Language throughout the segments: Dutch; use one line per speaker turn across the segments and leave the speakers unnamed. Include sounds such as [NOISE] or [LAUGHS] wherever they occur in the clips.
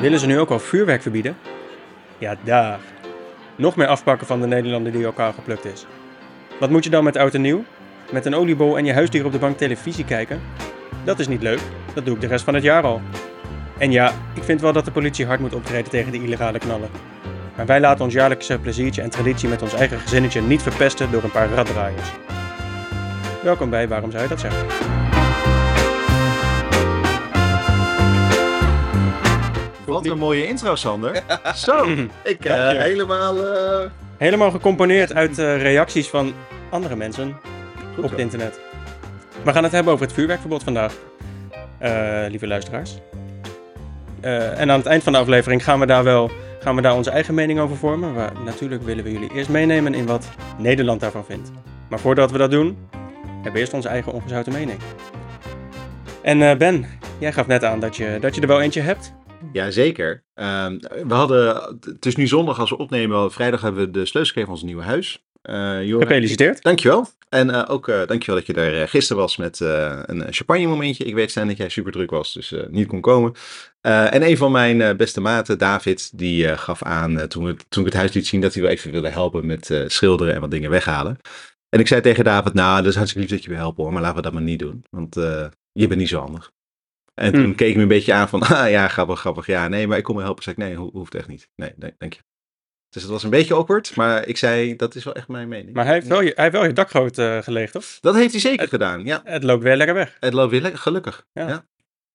Willen ze nu ook al vuurwerk verbieden? Ja, daar. Nog meer afpakken van de Nederlander die elkaar geplukt is. Wat moet je dan met oud en nieuw? Met een oliebol en je huisdier op de bank televisie kijken? Dat is niet leuk. Dat doe ik de rest van het jaar al. En ja, ik vind wel dat de politie hard moet optreden tegen de illegale knallen. Maar wij laten ons jaarlijkse pleziertje en traditie met ons eigen gezinnetje niet verpesten door een paar raddraaiers. Welkom bij Waarom zou je dat zeggen?
Wat een mooie intro, [LAUGHS] Sander. Zo, ik eh,
Dank je.
helemaal eh,
Helemaal gecomponeerd uit eh, reacties van andere mensen
goed
op
zo.
het internet. We gaan het hebben over het vuurwerkverbod vandaag, eh, lieve luisteraars. Eh, en aan het eind van de aflevering gaan we daar wel gaan we daar onze eigen mening over vormen. Maar natuurlijk willen we jullie eerst meenemen in wat Nederland daarvan vindt. Maar voordat we dat doen, hebben we eerst onze eigen ongezouten mening. En eh, Ben, jij gaf net aan dat je, dat je er wel eentje hebt.
Jazeker. Ehm, we hadden, het is nu zondag als we opnemen. Vrijdag hebben we de sleutels gegeven van ons nieuwe huis. Eh Joran,
Gefeliciteerd.
Dankjewel. En eh, ook eh, dankjewel dat je daar eh, gisteren was met eh, een champagne momentje. Ik weet zijn dat jij super druk was, dus eh, niet kon komen. Eh, en een van mijn eh, beste maten, David, die eh, gaf aan eh, toen, we, toen ik het huis liet zien dat hij wel even wilde helpen met eh, schilderen en wat dingen weghalen. En ik zei tegen David, nou, dat is hartstikke lief dat je wil helpen hoor, maar laten we dat maar niet doen. Want eh, je bent niet zo handig. En toen
Hmm.
keek ik me een beetje aan van, [LAUGHS] ah ja, grappig, grappig, ja, nee, maar ik kom me helpen. Ik zei, nee, ho- hoeft echt niet. Nee, nee, dank je. Dus dat was een beetje awkward, maar ik zei, dat is wel echt mijn mening.
Maar hij heeft
Ja.
wel je, hij heeft wel je dakgoot eh, geleegd, toch?
Dat heeft hij zeker
Het-
gedaan, ja.
Het loopt weer lekker weg.
Het loopt weer lekker, gelukkig.
Ja.
Ja.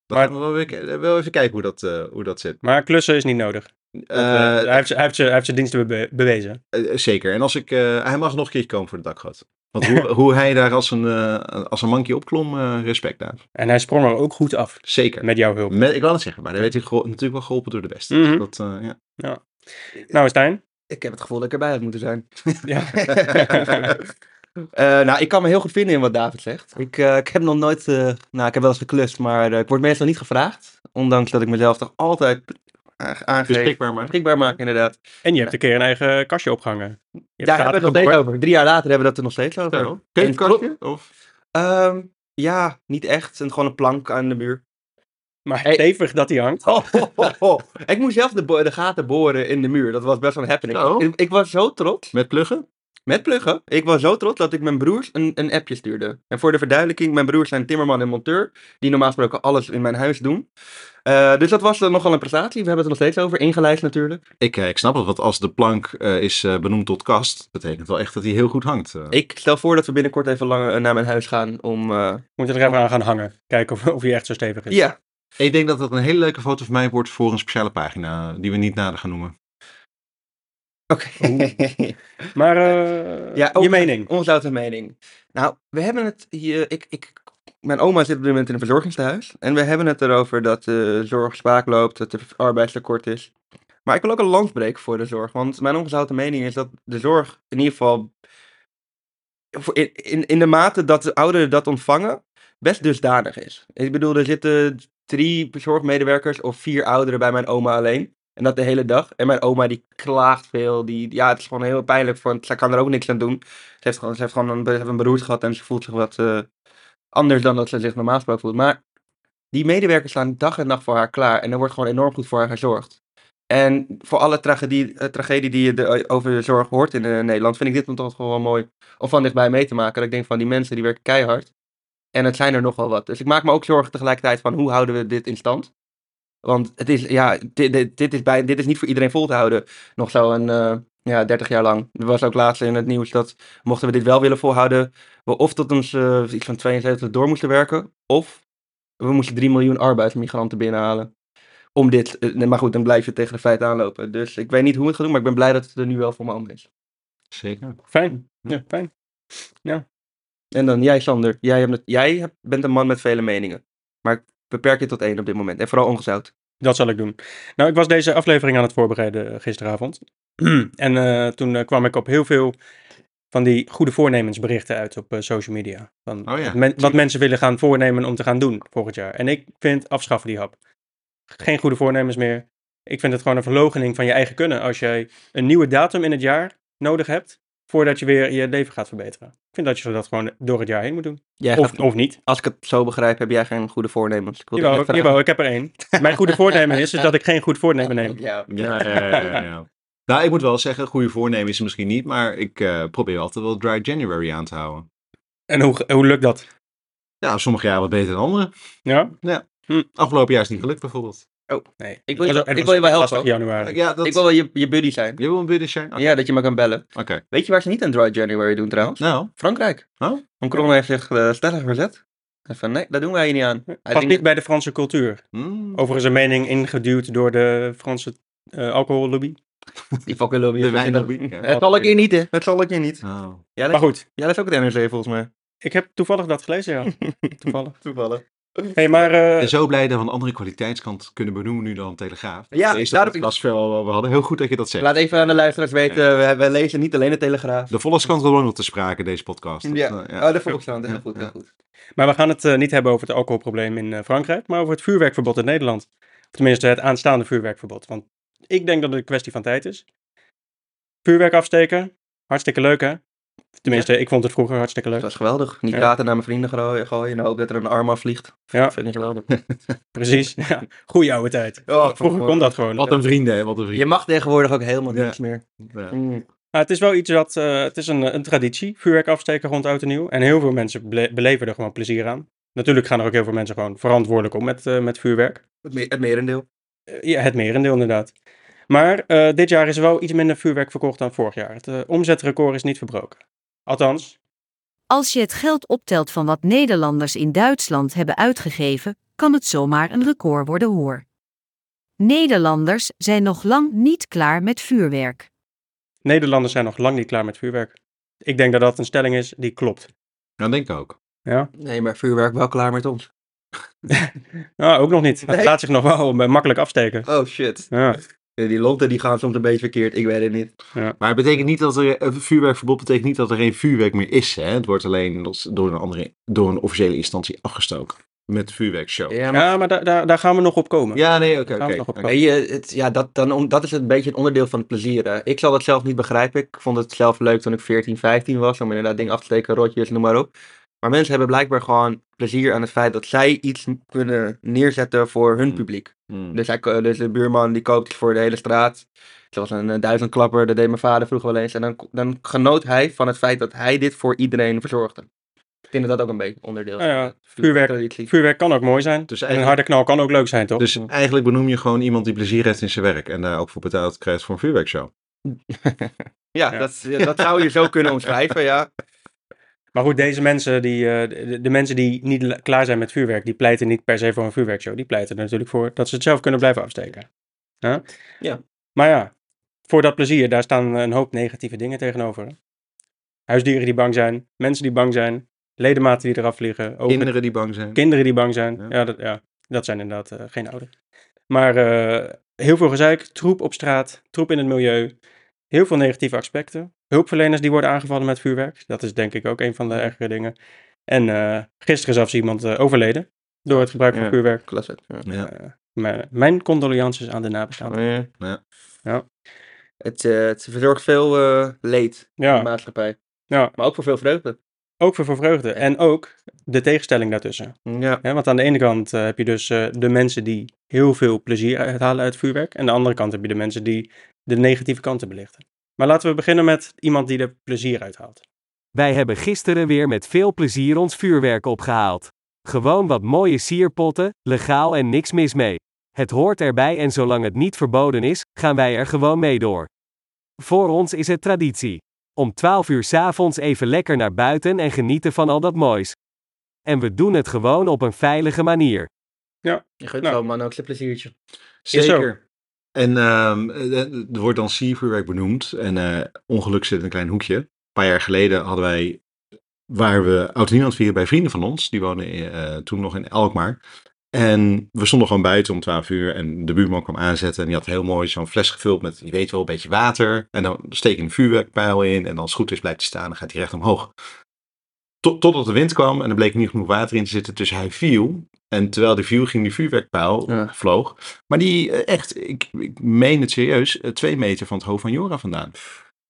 Dan
Maar-
gaan we wel, weer, ke- wel even kijken hoe dat, eh, hoe dat zit.
Maar klussen is niet nodig. Dat, eh,
Eh,
hij, heeft, hij, heeft, zijn- hij heeft zijn diensten be- bewezen.
eh, zeker. En als ik, eh, hij mag nog een keertje komen voor de dakgoot. Want hoe, hoe hij daar als een, eh, als een monkey opklom, eh, respect daar.
En hij sprong er ook goed af.
Zeker.
Met jouw hulp.
Met, ik wil het zeggen, maar daar werd hij geho- natuurlijk wel geholpen door de beste.
Mhm.
dat, eh, ja.
Nou, Stijn.
Ik heb het gevoel dat ik erbij had moeten zijn.
Ja.
Eh, nou, ik kan me heel goed vinden in wat David zegt. Ik, eh, ik heb nog nooit, eh, nou, ik heb wel eens geklust, maar eh, ik word meestal niet gevraagd. Ondanks dat ik mezelf toch altijd aange- aangeef.
Beschikbaar maar.
Beschikbaar maak, inderdaad.
[LAUGHS] En je hebt een keer een eigen kastje opgehangen. Je hebt
Daar hebben we het
gaten
nog steeds
geboord.
over. Drie jaar later hebben we dat er nog steeds over.
Daarom. Keukenkastje? Of?
Ehm, ja, niet echt. En gewoon een plank aan de muur.
Maar
Hey.
stevig dat hij hangt.
Oh, ho, ho, ho. Ik moest zelf de, bo- de gaten boren in de muur. Dat was best wel een happening.
Zo.
Ik, ik was zo trots.
Met pluggen?
Met pluggen. Ik was zo trots dat ik mijn broers een, een appje stuurde. En voor de verduidelijking, mijn broers zijn timmerman en monteur. Die normaal gesproken alles in mijn huis doen. Eh, dus dat was dan nogal een prestatie. We hebben het er nog steeds over. Ingelijst natuurlijk.
Ik, eh, ik snap het, want als de plank eh, is eh, benoemd tot kast, betekent wel echt dat hij heel goed hangt. eh.
Ik stel voor dat we binnenkort even lang, eh, naar mijn huis gaan om... eh,
Moet je er even aan gaan hangen. Kijken of, of hij echt zo stevig is.
Ja,
Ik denk dat dat een hele leuke foto van mij wordt voor een speciale pagina eh, die we niet nader gaan noemen.
oké. [LAUGHS]
Maar eh,
Ja, oh. ook-
je mening.
Ongezouten mening. Nou, we hebben het hier. Ik, ik, mijn oma zit op dit moment in een verzorgingstehuis. En we hebben het erover dat de zorg spaak loopt, dat er arbeidstekort is. Maar ik wil ook een lans breken voor de zorg. Want mijn ongezouten mening is dat de zorg in ieder geval. voor- In, in, in de mate dat de ouderen dat ontvangen, best dusdanig is. Ik bedoel, er zitten drie zorgmedewerkers of vier ouderen bij mijn oma alleen. En dat de hele dag. En mijn oma die klaagt veel. Die, ja, het is gewoon heel pijnlijk, want zij kan er ook niks aan doen. Ze heeft gewoon, ze heeft gewoon een, ze heeft een beroerte gehad en ze voelt zich wat eh, anders dan dat ze zich normaal gesproken voelt. Maar die medewerkers staan dag en nacht voor haar klaar en er wordt gewoon enorm goed voor haar gezorgd. En voor alle tragedie, eh, tragedie die je de- over de zorg hoort in eh, Nederland, vind ik dit dan toch gewoon mooi om van dichtbij mee te maken. Dat ik denk van die mensen die werken keihard en het zijn er nogal wat. Dus ik maak me ook zorgen tegelijkertijd van hoe houden we dit in stand? Want het is, ja, dit, dit, dit is, bij, dit is niet voor iedereen vol te houden. Nog zo'n, eh ja, 30 jaar lang. Er was ook laatst in het nieuws dat mochten we dit wel willen volhouden, we of tot ons eh, iets van 72 door moesten werken, of we moesten 3 miljoen arbeidsmigranten binnenhalen. Om dit, eh, nee, maar goed, dan blijf je tegen de feiten aanlopen. Dus ik weet niet hoe het gaat doen, maar ik ben blij dat het er nu wel voor mijn handen is.
Zeker.
Fijn. Ja, fijn.
En dan jij, Sander. Jij, hebt, het- jij hebt- bent een man met vele meningen. Maar ik beperk je tot één op dit moment. En vooral ongezout.
Dat zal ik doen. Nou, ik was deze aflevering aan het voorbereiden eh, gisteravond. [CLEARS THROAT] en eh, toen eh, kwam ik op heel veel van die goede voornemensberichten uit op eh, social media. Van
Oh ja,
wat men- wat mensen willen gaan voornemen om te gaan doen volgend jaar. En ik vind afschaffen die hap. Geen goede voornemens meer. Ik vind het gewoon een verlogening van je eigen kunnen. Als jij een nieuwe datum in het jaar nodig hebt Voordat je weer je leven gaat verbeteren. Ik vind dat je dat gewoon door het jaar heen moet doen.
Jij
Of,
gaat-
of niet.
als ik het zo begrijp, heb jij geen goede voornemens. Ik wil het
Jawel,
echt
ik-
vragen.
jawel, ik heb er één. Mijn goede voornemen is, is dat ik geen goed voornemen neem.
Ja.
Ja, ja, ja, ja, ja. [LAUGHS] Nou, ik moet wel zeggen, goede voornemen is er misschien niet, maar ik eh, probeer altijd wel Dry January aan te houden.
En hoe, hoe lukt dat?
Ja, sommige jaren wat beter dan andere.
Ja?
Afgelopen jaar is het niet gelukt bijvoorbeeld.
Nee.
Ik wil je-
Het was- het
ik wil je wel
was
helpen,
80
hoor.
januari.
Ja, dat...
Ik wil wel je, je buddy zijn.
Je wil een bidden zijn? Oké.
Ja, dat je me kan bellen.
Oké.
Weet je waar ze niet een dry January doen trouwens?
Nou,
Frankrijk.
Oh?
Macron heeft zich eh, stellig verzet. En van nee, dat doen wij hier niet aan. Hij
Past
ging-
niet bij de Franse cultuur.
Oh.
hmm,
Overigens een mening ingeduwd door de Franse eh, alcohollobby.
Die fucking lobby.
de wijnlobby. Ja.
Het zal ik hier niet, hè. Het zal ik hier niet.
Oh.
Jij
Maar
leest,
goed,
jij leest ook het NRC volgens mij.
ik heb toevallig dat gelezen,
[LAUGHS]
ja. toevallig.
Toevallig.
hey, maar eh,
Ik
Dus-
ben zo blij dat we een andere kwaliteitskant kunnen benoemen nu dan Telegraaf.
Ja,
Deze
daarom-
podcast wel, we hadden heel goed dat je dat zegt.
Laat even aan de luisteraars weten, we, we lezen niet alleen de Telegraaf.
De Volkskrant kwam ook nog te sprake, deze podcast. Dat, eh,
Oh, de Volkskrant. Heel goed, heel goed.
Maar we gaan het eh, niet hebben over het alcoholprobleem in eh, Frankrijk, maar over het vuurwerkverbod in Nederland. Of tenminste, het aanstaande vuurwerkverbod. Want ik denk dat het een kwestie van tijd is. Vuurwerk afsteken, hartstikke leuk hè? Tenminste, ik vond het vroeger hartstikke
Het
leuk.
was geweldig. Niet
Ja.
praten naar mijn vrienden gooien, gooien en hoop dat er een arm afvliegt.
Ja,
Vind ik geweldig.
precies. [LAUGHS] Ja, goeie oude tijd.
Oh,
Vroeger kon dat gewoon.
Wat een vrienden, hè, wat een
Je
vrienden.
mag tegenwoordig ook helemaal
Ja.
niks meer.
Ja.
Mm.
Maar het is wel iets dat, eh, het is een, een traditie, vuurwerk afsteken rond oud en nieuw. En heel veel mensen ble- beleven er gewoon plezier aan. Natuurlijk gaan er ook heel veel mensen gewoon verantwoordelijk om met, eh, met vuurwerk.
Het, me- het merendeel.
Eh, Ja, het merendeel inderdaad. Maar eh, dit jaar is er wel iets minder vuurwerk verkocht dan vorig jaar. Het eh, omzetrecord is niet verbroken. Althans,
Als je het geld optelt van wat Nederlanders in Duitsland hebben uitgegeven, kan het zomaar een record worden hoor. Nederlanders zijn nog lang niet klaar met vuurwerk.
Nederlanders zijn nog lang niet klaar met vuurwerk. Ik denk dat dat een stelling is die klopt.
Dat denk ik ook.
Ja?
Nee, maar vuurwerk wel klaar met ons.
Nou, ook nog niet. Het
Nee.
laat zich nog wel eh, makkelijk afsteken.
Oh shit.
Ja.
Die lonten die gaan soms een beetje verkeerd, ik weet het niet.
Maar het betekent niet dat er, een vuurwerkverbod betekent niet dat er geen vuurwerk meer is. Hè? Het wordt alleen los- door een, andere, door een officiële instantie afgestoken. Met vuurwerkshow. Ja,
Ja, maar...
Ja, maar daar daar, daar gaan we nog op komen.
nee, oké.
Gaan we
oké.
nog op
Oké.
komen.
Weet je, het, ja, dat, dan, om- dat is een beetje een onderdeel van het plezier. hè. Ik zal dat zelf niet begrijpen. Ik vond het zelf leuk toen ik 14, 15 was. Om inderdaad dingen af te steken, rotjes, noem maar op. Maar mensen hebben blijkbaar gewoon plezier aan het feit dat zij iets kunnen neerzetten voor hun
Hmm.
publiek.
Hmm.
Dus, hij, ko- dus de buurman die koopt iets voor de hele straat. Zoals een eh, duizendklapper, dat deed mijn vader vroeger wel eens. En dan, ko- dan genoot hij van het feit dat hij dit voor iedereen verzorgde. Ik denk dat dat ook een beetje onderdeel is.
Ah Ja,
van
Nou ja,
de
vuurwerk.
traditie.
Vuurwerk kan ook mooi zijn.
Dus
En een
eigenlijk,
harde knal kan ook leuk zijn, toch?
dus eigenlijk benoem je gewoon iemand die plezier heeft in zijn werk. En daar ook voor betaald krijgt voor een vuurwerkshow.
Ja,
Ja.
Dat, is- ja, dat zou je
[LAUGHS]
zo kunnen omschrijven, ja.
Maar goed, deze mensen, die, eh, de, de mensen die niet la- klaar zijn met vuurwerk, die pleiten niet per se voor een vuurwerkshow. Die pleiten er natuurlijk voor dat ze het zelf kunnen blijven afsteken. Huh?
Ja.
Maar ja, voor dat plezier, daar staan een hoop negatieve dingen tegenover. hè? Huisdieren die bang zijn, mensen die bang zijn, ledematen die eraf vliegen, ogen-
Kinderen die bang zijn.
kinderen die bang zijn.
Ja.
Ja, dat, ja, dat zijn inderdaad eh, geen ouders. Maar eh, heel veel gezeik, troep op straat, troep in het milieu. Heel veel negatieve aspecten. Hulpverleners die worden aangevallen met vuurwerk. Dat is denk ik ook een van de ergere dingen. En eh, gisteren zelfs iemand eh, overleden door het gebruik van
Ja.
vuurwerk.
Klasse. Ja.
Ja.
Maar mijn condolences aan de nabestaanden.
Ja.
Ja.
Ja.
Het, eh, het verzorgt veel eh, leed in de
Ja,
maatschappij.
Ja.
Maar ook voor veel vreugde.
ook voor, voor vreugde. En ook de tegenstelling daartussen.
Ja.
Hè, want aan de ene kant eh, heb je dus eh, de mensen die heel veel plezier uithalen uit vuurwerk. En aan de andere kant heb je de mensen die de negatieve kanten belichten. Maar laten we beginnen met iemand die er plezier uithaalt.
Wij hebben gisteren weer met veel plezier ons vuurwerk opgehaald. Gewoon wat mooie sierpotten, legaal en niks mis mee. Het hoort erbij en zolang het niet verboden is, gaan wij er gewoon mee door. Voor ons is het traditie. Om 12 uur 's avonds even lekker naar buiten en genieten van al dat moois. En we doen het gewoon op een veilige manier.
Je gunt
Nou.
zo'n man ook zijn pleziertje.
Is zo.
Zeker. En ehm, eh, er wordt dan siervuurwerk benoemd. En eh, ongeluk zit in een klein hoekje. Een paar jaar geleden hadden wij, waar we oud en nieuw aan het vieren bij vrienden van ons. Die woonden eh, toen nog in Alkmaar. En we stonden gewoon buiten om 12 uur en de buurman kwam aanzetten en die had heel mooi zo'n fles gevuld met, je weet wel, een beetje water. En dan steek je een vuurwerkpijl in en als het goed is blijft hij staan en gaat hij recht omhoog. Tot, totdat de wind kwam en er bleek niet genoeg water in te zitten, dus hij viel. En terwijl die viel ging die vuurwerkpijl,
Ja.
vloog, maar die, eh, echt, ik, ik meen het serieus, eh, twee meter van het hoofd van Jora vandaan.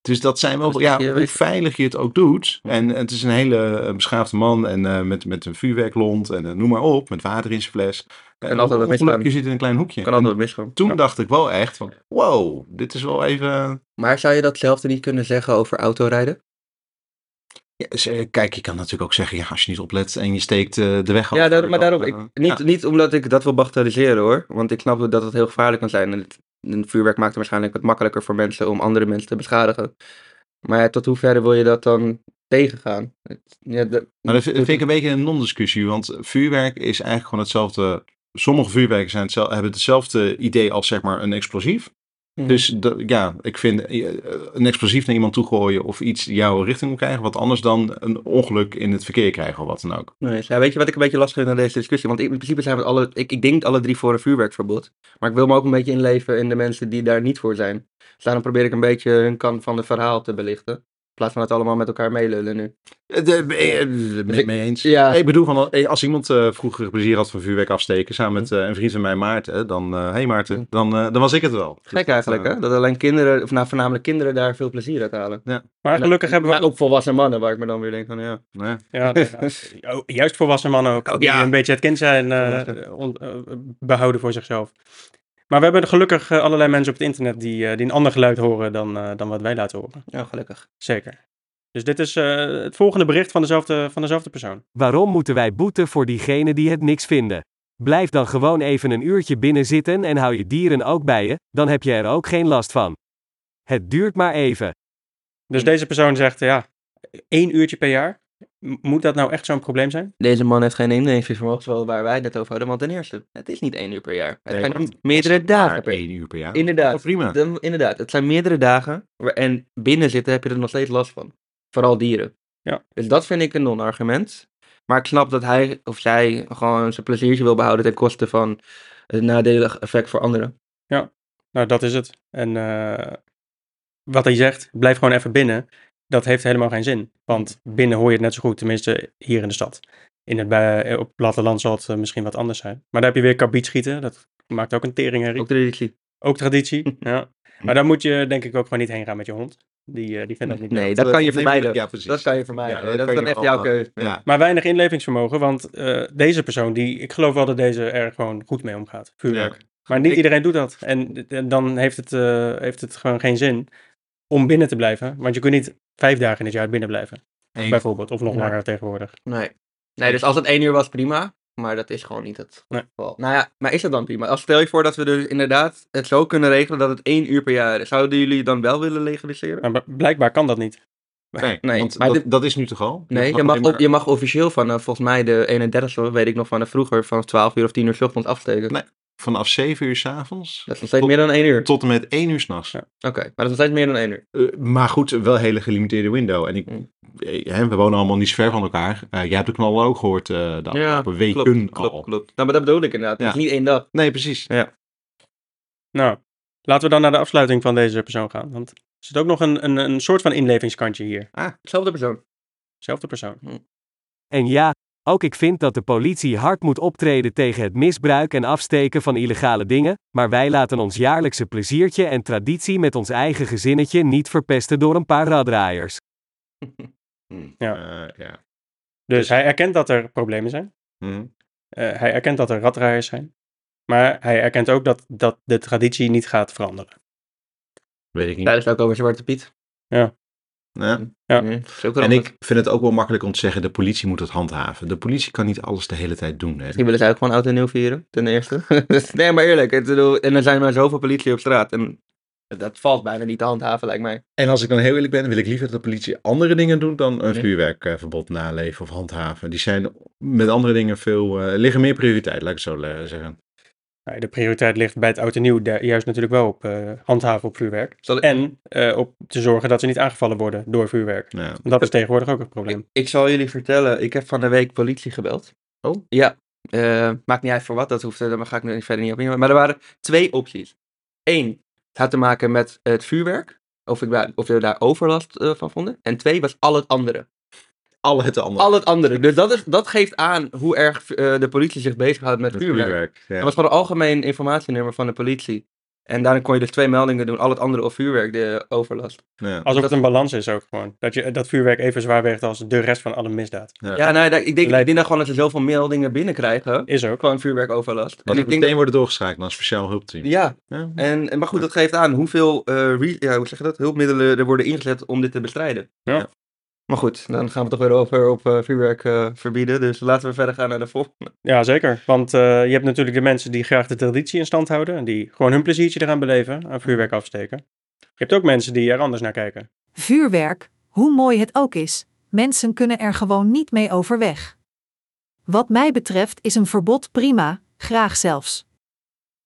Dus dat zijn wel,
Dus
ja,
je
hoe
weet-
veilig je het ook doet. En het is een hele eh, beschaafde man en eh, met, met een vuurwerklont en eh, noem maar op, met water in zijn fles. En,
altijd wat misgaan.
Je zit in een klein hoekje.
Kan altijd wat misgaan.
Toen
Ja.
dacht ik wel echt van, wow, dit is wel even...
Maar zou je datzelfde niet kunnen zeggen over autorijden?
Ja, dus, eh, kijk, je kan natuurlijk ook zeggen, ja, als je niet oplet en je steekt eh, de weg af.
Ja, daar-
dan-
maar daarom, ik,
eh,
niet,
ja.
niet omdat ik dat wil bagatelliseren hoor, want ik snap dat het heel gevaarlijk kan zijn. En het, een vuurwerk maakt het waarschijnlijk wat makkelijker voor mensen om andere mensen te beschadigen. Maar ja, tot hoeverre wil je dat dan tegengaan? Het- ja, de-
Maar dat vind dat vind ik een beetje een non-discussie, want vuurwerk is eigenlijk gewoon hetzelfde. Sommige vuurwerken zijn hetzelfde, hebben hetzelfde idee als zeg maar een explosief.
Mhm.
Dus dat- ja, ik vind eh, een explosief naar iemand toe gooien of iets jouw richting op krijgen, wat anders dan een ongeluk in het verkeer krijgen of wat dan ook.
Nee, ja, weet je wat ik een beetje lastig vind aan deze discussie? Want in principe zijn we alle, ik, ik denk alle drie voor een vuurwerkverbod. Maar ik wil me ook een beetje inleven in de mensen die daar niet voor zijn. Dus daarom probeer ik een beetje hun kant van het verhaal te belichten. In plaats van het allemaal met elkaar meelullen nu.
Eh, de- eh, eh, Ben ik mee eens.
Ja.
Ik bedoel, van, eh, als iemand eh, vroeger plezier had van vuurwerk afsteken, samen met eh, een vriend van mij, Maarten, dan, eh hey Maarten, dan, eh, dan was ik het eh, wel.
Gek eigenlijk, hè? Dat alleen kinderen, of nou, voornamelijk kinderen daar veel plezier uit halen.
Maar gelukkig hebben we
Maar ook volwassen mannen, waar ik me dan weer denk van, ja.
Ja.
Ja, ju- juist volwassen mannen ook.
Ook,
die
ja.
een beetje het kind zijn eh, on- eh, behouden voor zichzelf. Maar we hebben gelukkig eh, allerlei mensen op het internet die, eh, die een ander geluid horen dan, eh, dan wat wij laten horen.
Ja, gelukkig.
Zeker. Dus dit is eh, het volgende bericht van dezelfde, van dezelfde persoon.
Waarom moeten wij boeten voor diegenen die het niks vinden? Blijf dan gewoon even een uurtje binnen zitten en hou je dieren ook bij je, dan heb je er ook geen last van. Het duurt maar even.
Dus deze persoon zegt, eh, ja, één uurtje per jaar. M- Moet dat nou echt zo'n probleem zijn?
Deze man heeft geen inlevingsvermogen, zoals waar wij het net over hadden. Want ten eerste, het is niet één uur per jaar. Het
Nee,
zijn
want-
meerdere dagen
Maar
per jaar.
één uur per jaar.
Inderdaad.
Oh, prima.
Dan- inderdaad, het zijn meerdere dagen. waar- En binnen zitten heb je er nog steeds last van. Vooral dieren.
Ja.
Dus dat vind ik een non-argument. Maar ik snap dat hij of zij gewoon zijn pleziertje wil behouden ten koste van het nadelig effect voor anderen.
Nou, dat is het. En eh, wat hij zegt, blijf gewoon even binnen. Dat heeft helemaal geen zin. Want binnen hoor je het net zo goed, tenminste hier in de stad. In het, bij, op het platteland zal het eh, misschien wat anders zijn. Maar daar heb je weer kabietschieten. Dat maakt ook een teringherrie.
Ook
Ook,
traditie. [LAUGHS]
traditie. ja. Maar daar moet je denk ik ook gewoon niet heen gaan met je hond. Die, eh, die vindt dat niet leuk.
Nee, dat kan je
Nee,
vermijden.
Ja, precies.
Dat kan je vermijden.
Ja,
dat,
dat kan
is dan
je
echt
wel,
jouw
eh,
keuze.
Ja.
Maar weinig inlevingsvermogen, want eh, deze persoon, die, ik geloof wel dat deze er gewoon goed mee omgaat. Vuurwerk.
Ja.
Maar niet
Ik-
iedereen doet dat. En, en dan heeft het, eh, heeft het gewoon geen zin om binnen te blijven. Want je kunt niet vijf dagen in het jaar binnen blijven,
Eens.
bijvoorbeeld. Of nog
Nee.
langer tegenwoordig.
Nee. Nee, dus als het één uur was, prima. Maar dat is gewoon niet het
Nee.
geval. Nou ja, maar is dat dan prima? Als stel je voor dat we dus inderdaad het zo kunnen regelen dat het één uur per jaar is. Zouden jullie dan wel willen legaliseren?
Maar b- blijkbaar kan dat niet.
Nee,
[LAUGHS] Nee,
want
maar
dat,
dit-
dat is nu toch al?
Nee, je mag, op, je mag officieel van, eh, volgens mij de 31ste, weet ik nog van de vroeger, van 12 uur of 10 uur 's ochtends afsteken.
Nee. Vanaf 7 uur s'avonds
Dat is nog steeds
Tot-
meer dan 1 uur.
tot en met 1 uur s'nachts.
Ja.
Oké, maar dat is nog steeds meer dan 1 uur.
Eh, maar goed, wel een hele gelimiteerde window. En ik,
Mm.
eh, hè, we wonen allemaal niet zo ver van elkaar. Eh, jij hebt de knallen ook gehoord eh de afgelopen weken
klopt,
al.
klopt, klopt. Nou, maar dat bedoel ik inderdaad. Het
Ja.
is niet één dag.
Nee, precies.
Nou, laten we dan naar de afsluiting van deze persoon gaan. Want er zit ook nog een, een, een soort van inlevingskantje hier.
Ah.
Hetzelfde persoon.
Zelfde persoon.
En ja, ook ik vind dat de politie hard moet optreden tegen het misbruik en afsteken van illegale dingen, maar wij laten ons jaarlijkse pleziertje en traditie met ons eigen gezinnetje niet verpesten door een paar raddraaiers.
Ja.
Eh, ja.
Dus hij erkent dat er problemen zijn.
Hm.
Eh, hij erkent dat er raddraaiers zijn. Maar hij erkent ook dat, dat de traditie niet gaat veranderen.
Weet ik niet.
Tijdens ook over Zwarte Piet.
Ja.
Ja.
Nee, dat is ook wel
En
anders.
ik vind het ook wel makkelijk om te zeggen, de politie moet het handhaven. De politie kan niet alles de hele tijd doen. Hè.
Misschien willen zij ook gewoon oud en nieuw vieren, ten eerste. [LAUGHS] Dus, nee, maar eerlijk. ik bedoel, en er zijn maar zoveel politie op straat. En dat valt bijna niet te handhaven, lijkt mij.
En als ik dan heel eerlijk ben, wil ik liever dat de politie andere dingen doet dan een
Ja.
vuurwerkverbod naleven of handhaven. Die zijn met andere dingen veel, eh, liggen meer prioriteit, laat ik het zo eh, zeggen.
Nou, de prioriteit ligt bij het oud en nieuw daar- juist natuurlijk wel op eh, handhaven op vuurwerk.
Zal ik,
En eh, op te zorgen dat ze niet aangevallen worden door vuurwerk.
Ja.
Dat is tegenwoordig ook een
eh,
probleem.
Ik, ik zal jullie vertellen, ik heb van de week politie gebeld.
Oh.
Ja, eh, maakt niet uit voor wat, dat hoeft, eh, daar ga ik nu verder niet op in. Maar er waren twee opties. Eén, het had te maken met het vuurwerk, of, ik, daar- of we daar overlast eh, van vonden. En twee, was al het andere.
Al het andere.
Al het andere. Dus dat, is, dat geeft aan hoe erg eh, de politie zich bezighoudt met
Met
vuurwerk.
vuurwerk, ja.
Dat was gewoon een algemeen informatienummer van de politie. En daarin kon je dus twee meldingen doen, al het andere of vuurwerk de overlast.
Ja.
Alsof
Dat-
het een balans is ook gewoon. Dat je dat vuurwerk even zwaar weegt als de rest van alle misdaad.
Ja.
Ja, nou, daar- ik denk, ik
Lijkt-
denk dan gewoon dat ze zoveel meldingen binnenkrijgen
Is ook.
van vuurwerkoverlast.
Dat
En
ik
ik denk
meteen worden doorgeschakeld naar een speciaal hulpteam.
Ja,
Ja.
en, en- maar goed, dat geeft aan hoeveel eh, re- ja, hoe zeg je dat? hulpmiddelen er worden ingezet om dit te bestrijden.
Ja.
Maar goed, dan gaan we toch weer over op eh, vuurwerk eh, verbieden. Dus laten we verder gaan naar de volgende.
Ja, zeker. Want eh, je hebt natuurlijk de mensen die graag de traditie in stand houden. En die gewoon hun pleziertje eraan beleven. Aan vuurwerk afsteken. Je hebt ook mensen die er anders naar kijken.
Vuurwerk, hoe mooi het ook is, mensen kunnen er gewoon niet mee overweg. Wat mij betreft is een verbod prima, graag zelfs.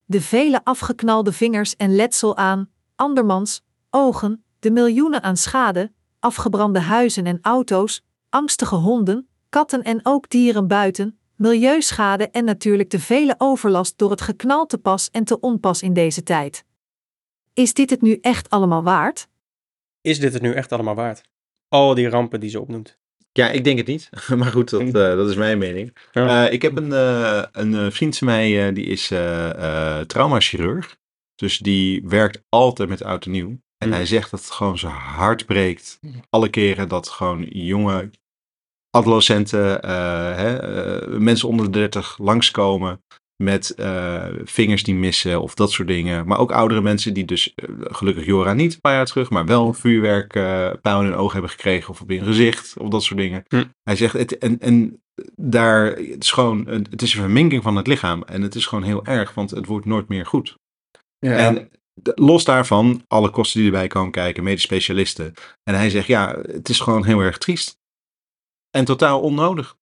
De vele afgeknalde vingers en letsel aan, andermans, ogen, de miljoenen aan schade, afgebrande huizen en auto's, angstige honden, katten en ook dieren buiten, milieuschade en natuurlijk de vele overlast door het geknal te pas en te onpas in deze tijd. Is dit het nu echt allemaal waard?
Is dit het nu echt allemaal waard? Al die rampen die ze opnoemt.
Ja, ik denk het niet. [LAUGHS] Maar goed,
Mm.
dat, eh, dat is mijn mening.
Ja.
Eh, ik heb een, eh, een eh, vriend van mij, eh, die is eh eh traumachirurg. Dus die werkt altijd met oud en nieuw. En
Hmm.
hij zegt dat het gewoon zijn hart breekt. Alle keren dat gewoon jonge adolescenten, eh, hè, eh, mensen onder de 30 langskomen met eh, vingers die missen of dat soort dingen. Maar ook oudere mensen die dus, eh, gelukkig Jora niet een paar jaar terug, maar wel een vuurwerk eh, pijl in hun oog hebben gekregen of op hun gezicht of dat soort dingen.
Hm.
Hij zegt, het, en, en daar, het is gewoon, een- het is een verminking van het lichaam en het is gewoon heel erg, want het wordt nooit meer goed. En de- los daarvan, alle kosten die erbij komen kijken, medisch specialisten. En hij zegt, ja, het is gewoon heel erg triest. En totaal onnodig.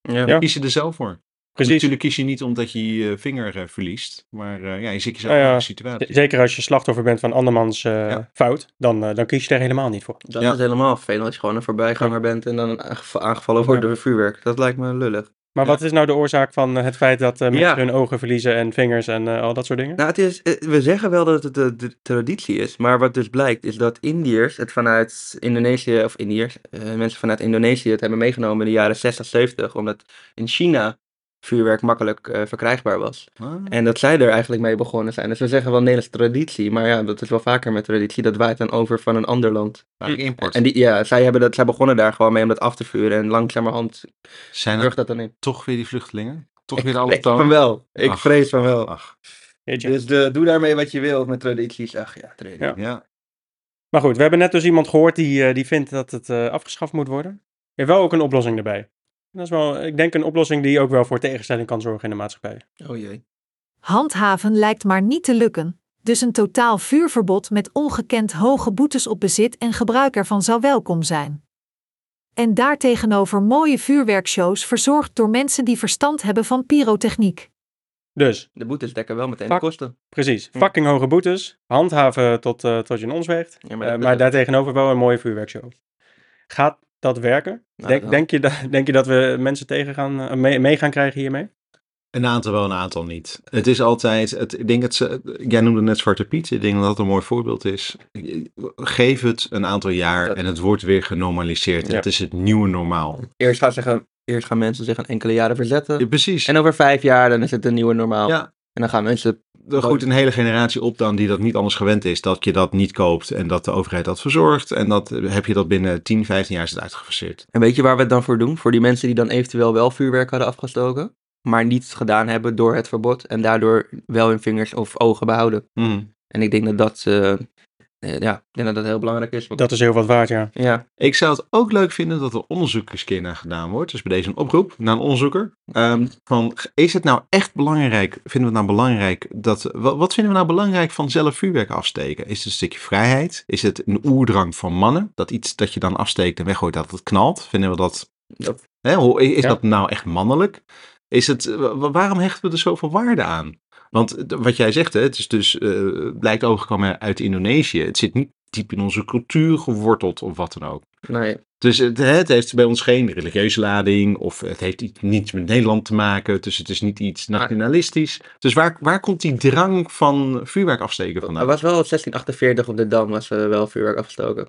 ja.
Ja.
Kies je er zelf voor.
Precies.
Natuurlijk kies je niet omdat je je vinger eh, verliest. Maar eh, ja, je zit
Ah,
jezelf
Nou ja,
in een situatie.
Z- Zeker als je slachtoffer bent van andermans eh,
Ja.
fout. Dan, eh, dan kies je er helemaal niet voor.
Dat
Ja.
is helemaal vervelend als je gewoon een voorbijganger bent en dan aangev- aangevallen wordt
Ja.
door vuurwerk. Dat lijkt me lullig.
Maar
Ja.
wat is nou de oorzaak van eh, het feit dat eh, mensen
Ja.
hun ogen verliezen en vingers en eh, al dat soort dingen?
Nou, het is, eh, we zeggen wel dat het de, de traditie is, maar wat dus blijkt is dat Indiërs het vanuit Indonesië, of Indiërs, eh, mensen vanuit Indonesië het hebben meegenomen in de jaren 60, 70, omdat in China vuurwerk makkelijk eh, verkrijgbaar was.
Ah,
En dat zij er eigenlijk mee begonnen zijn. Dus we zeggen wel Nederlandse traditie, maar ja, dat is wel vaker met traditie. Dat waait dan over van een ander land.
eigenlijk import.
En die, ja, zij, hebben dat, zij begonnen daar gewoon mee om dat af te vuren en langzamerhand
Zijn er
burgt dat dan in.
toch weer die vluchtelingen? Toch
Ik
weer de
vrees van
allochtonen?
wel. Ik
Ach.
vrees van wel.
Ach,
Jeetje.
Dus de, doe daarmee wat je wilt met tradities. Ach ja, traditie.
Ja.
ja.
Maar goed, we hebben net dus iemand gehoord die, eh, die vindt dat het eh, afgeschaft moet worden. Je hebt wel ook een oplossing erbij. Dat is wel, ik denk, een oplossing die ook wel voor tegenstelling kan zorgen in de maatschappij.
Oh jee.
Handhaven lijkt maar niet te lukken, dus een totaal vuurverbod met ongekend hoge boetes op bezit en gebruik ervan zou welkom zijn. En daartegenover mooie vuurwerkshows verzorgd door mensen die verstand hebben van pyrotechniek.
Dus,
De boetes dekken wel meteen
Fuck.
de kosten.
precies.
Hm.
Fucking hoge boetes. Handhaven tot, eh, tot je in ons weegt.
Ja,
Maar,
dat-
Eh, maar daartegenover wel een mooie vuurwerkshow. Gaat dat werken?
Nou,
denk,
dan-
denk, je dat, [LAUGHS] denk je dat we mensen tegen gaan, eh, mee, mee gaan krijgen hiermee?
Een aantal wel, een aantal niet. Het is altijd, het, ik denk dat ze, jij noemde net Zwarte Piet, ik denk dat dat een mooi voorbeeld is. Geef het een aantal jaar
Dat-
en het wordt weer genormaliseerd.
Ja.
Het is het nieuwe normaal.
Eerst, gaan zeggen, eerst gaan mensen zich een enkele jaren verzetten.
Ja, precies.
En over vijf jaar dan is het een nieuwe normaal.
Ja.
En dan gaan mensen...
er goed een hele generatie op dan die dat niet anders gewend is. Dat je dat niet koopt en dat de overheid dat verzorgt. En dat eh, heb je dat binnen 10, 15 jaar is het uitgefaseerd.
En weet je waar we het dan voor doen? Voor die mensen die dan eventueel wel vuurwerk hadden afgestoken, maar niets gedaan hebben door het verbod en daardoor wel hun vingers of ogen behouden. En ik denk dat dat, eh, eh, ja, ik denk dat, dat heel belangrijk is. want-
Dat is heel wat waard, ja.
Ja,
Ik zou het ook leuk vinden dat er onderzoek eens een keer naar gedaan wordt. Dus bij deze een oproep naar een onderzoeker. Ehm, van, is het nou echt belangrijk, vinden we het nou belangrijk, dat, wa- wat, vinden we nou belangrijk van zelf vuurwerk afsteken? Is het een stukje vrijheid? Is het een oerdrang van mannen? Dat iets dat je dan afsteekt en weggooit dat het knalt? Vinden we dat,
Dat-
hè, hoe- is
Ja.
dat nou echt mannelijk? Is het, wa- wa- waarom hechten we er zoveel waarde aan? Want eh, wat jij zegt, hè, het is dus, eh, blijkt overgekomen uit Indonesië. Het zit niet diep in onze cultuur geworteld of wat dan ook.
nee.
Dus het, hè, het heeft bij ons geen religieuze lading of het heeft iets, niets met Nederland te maken. Dus het is niet iets nationalistisch. Dus waar, waar komt die drang van vuurwerk afsteken vandaan?
Er
Oké,
was wel 1648 op de Dam, was eh, wel vuurwerk afgestoken.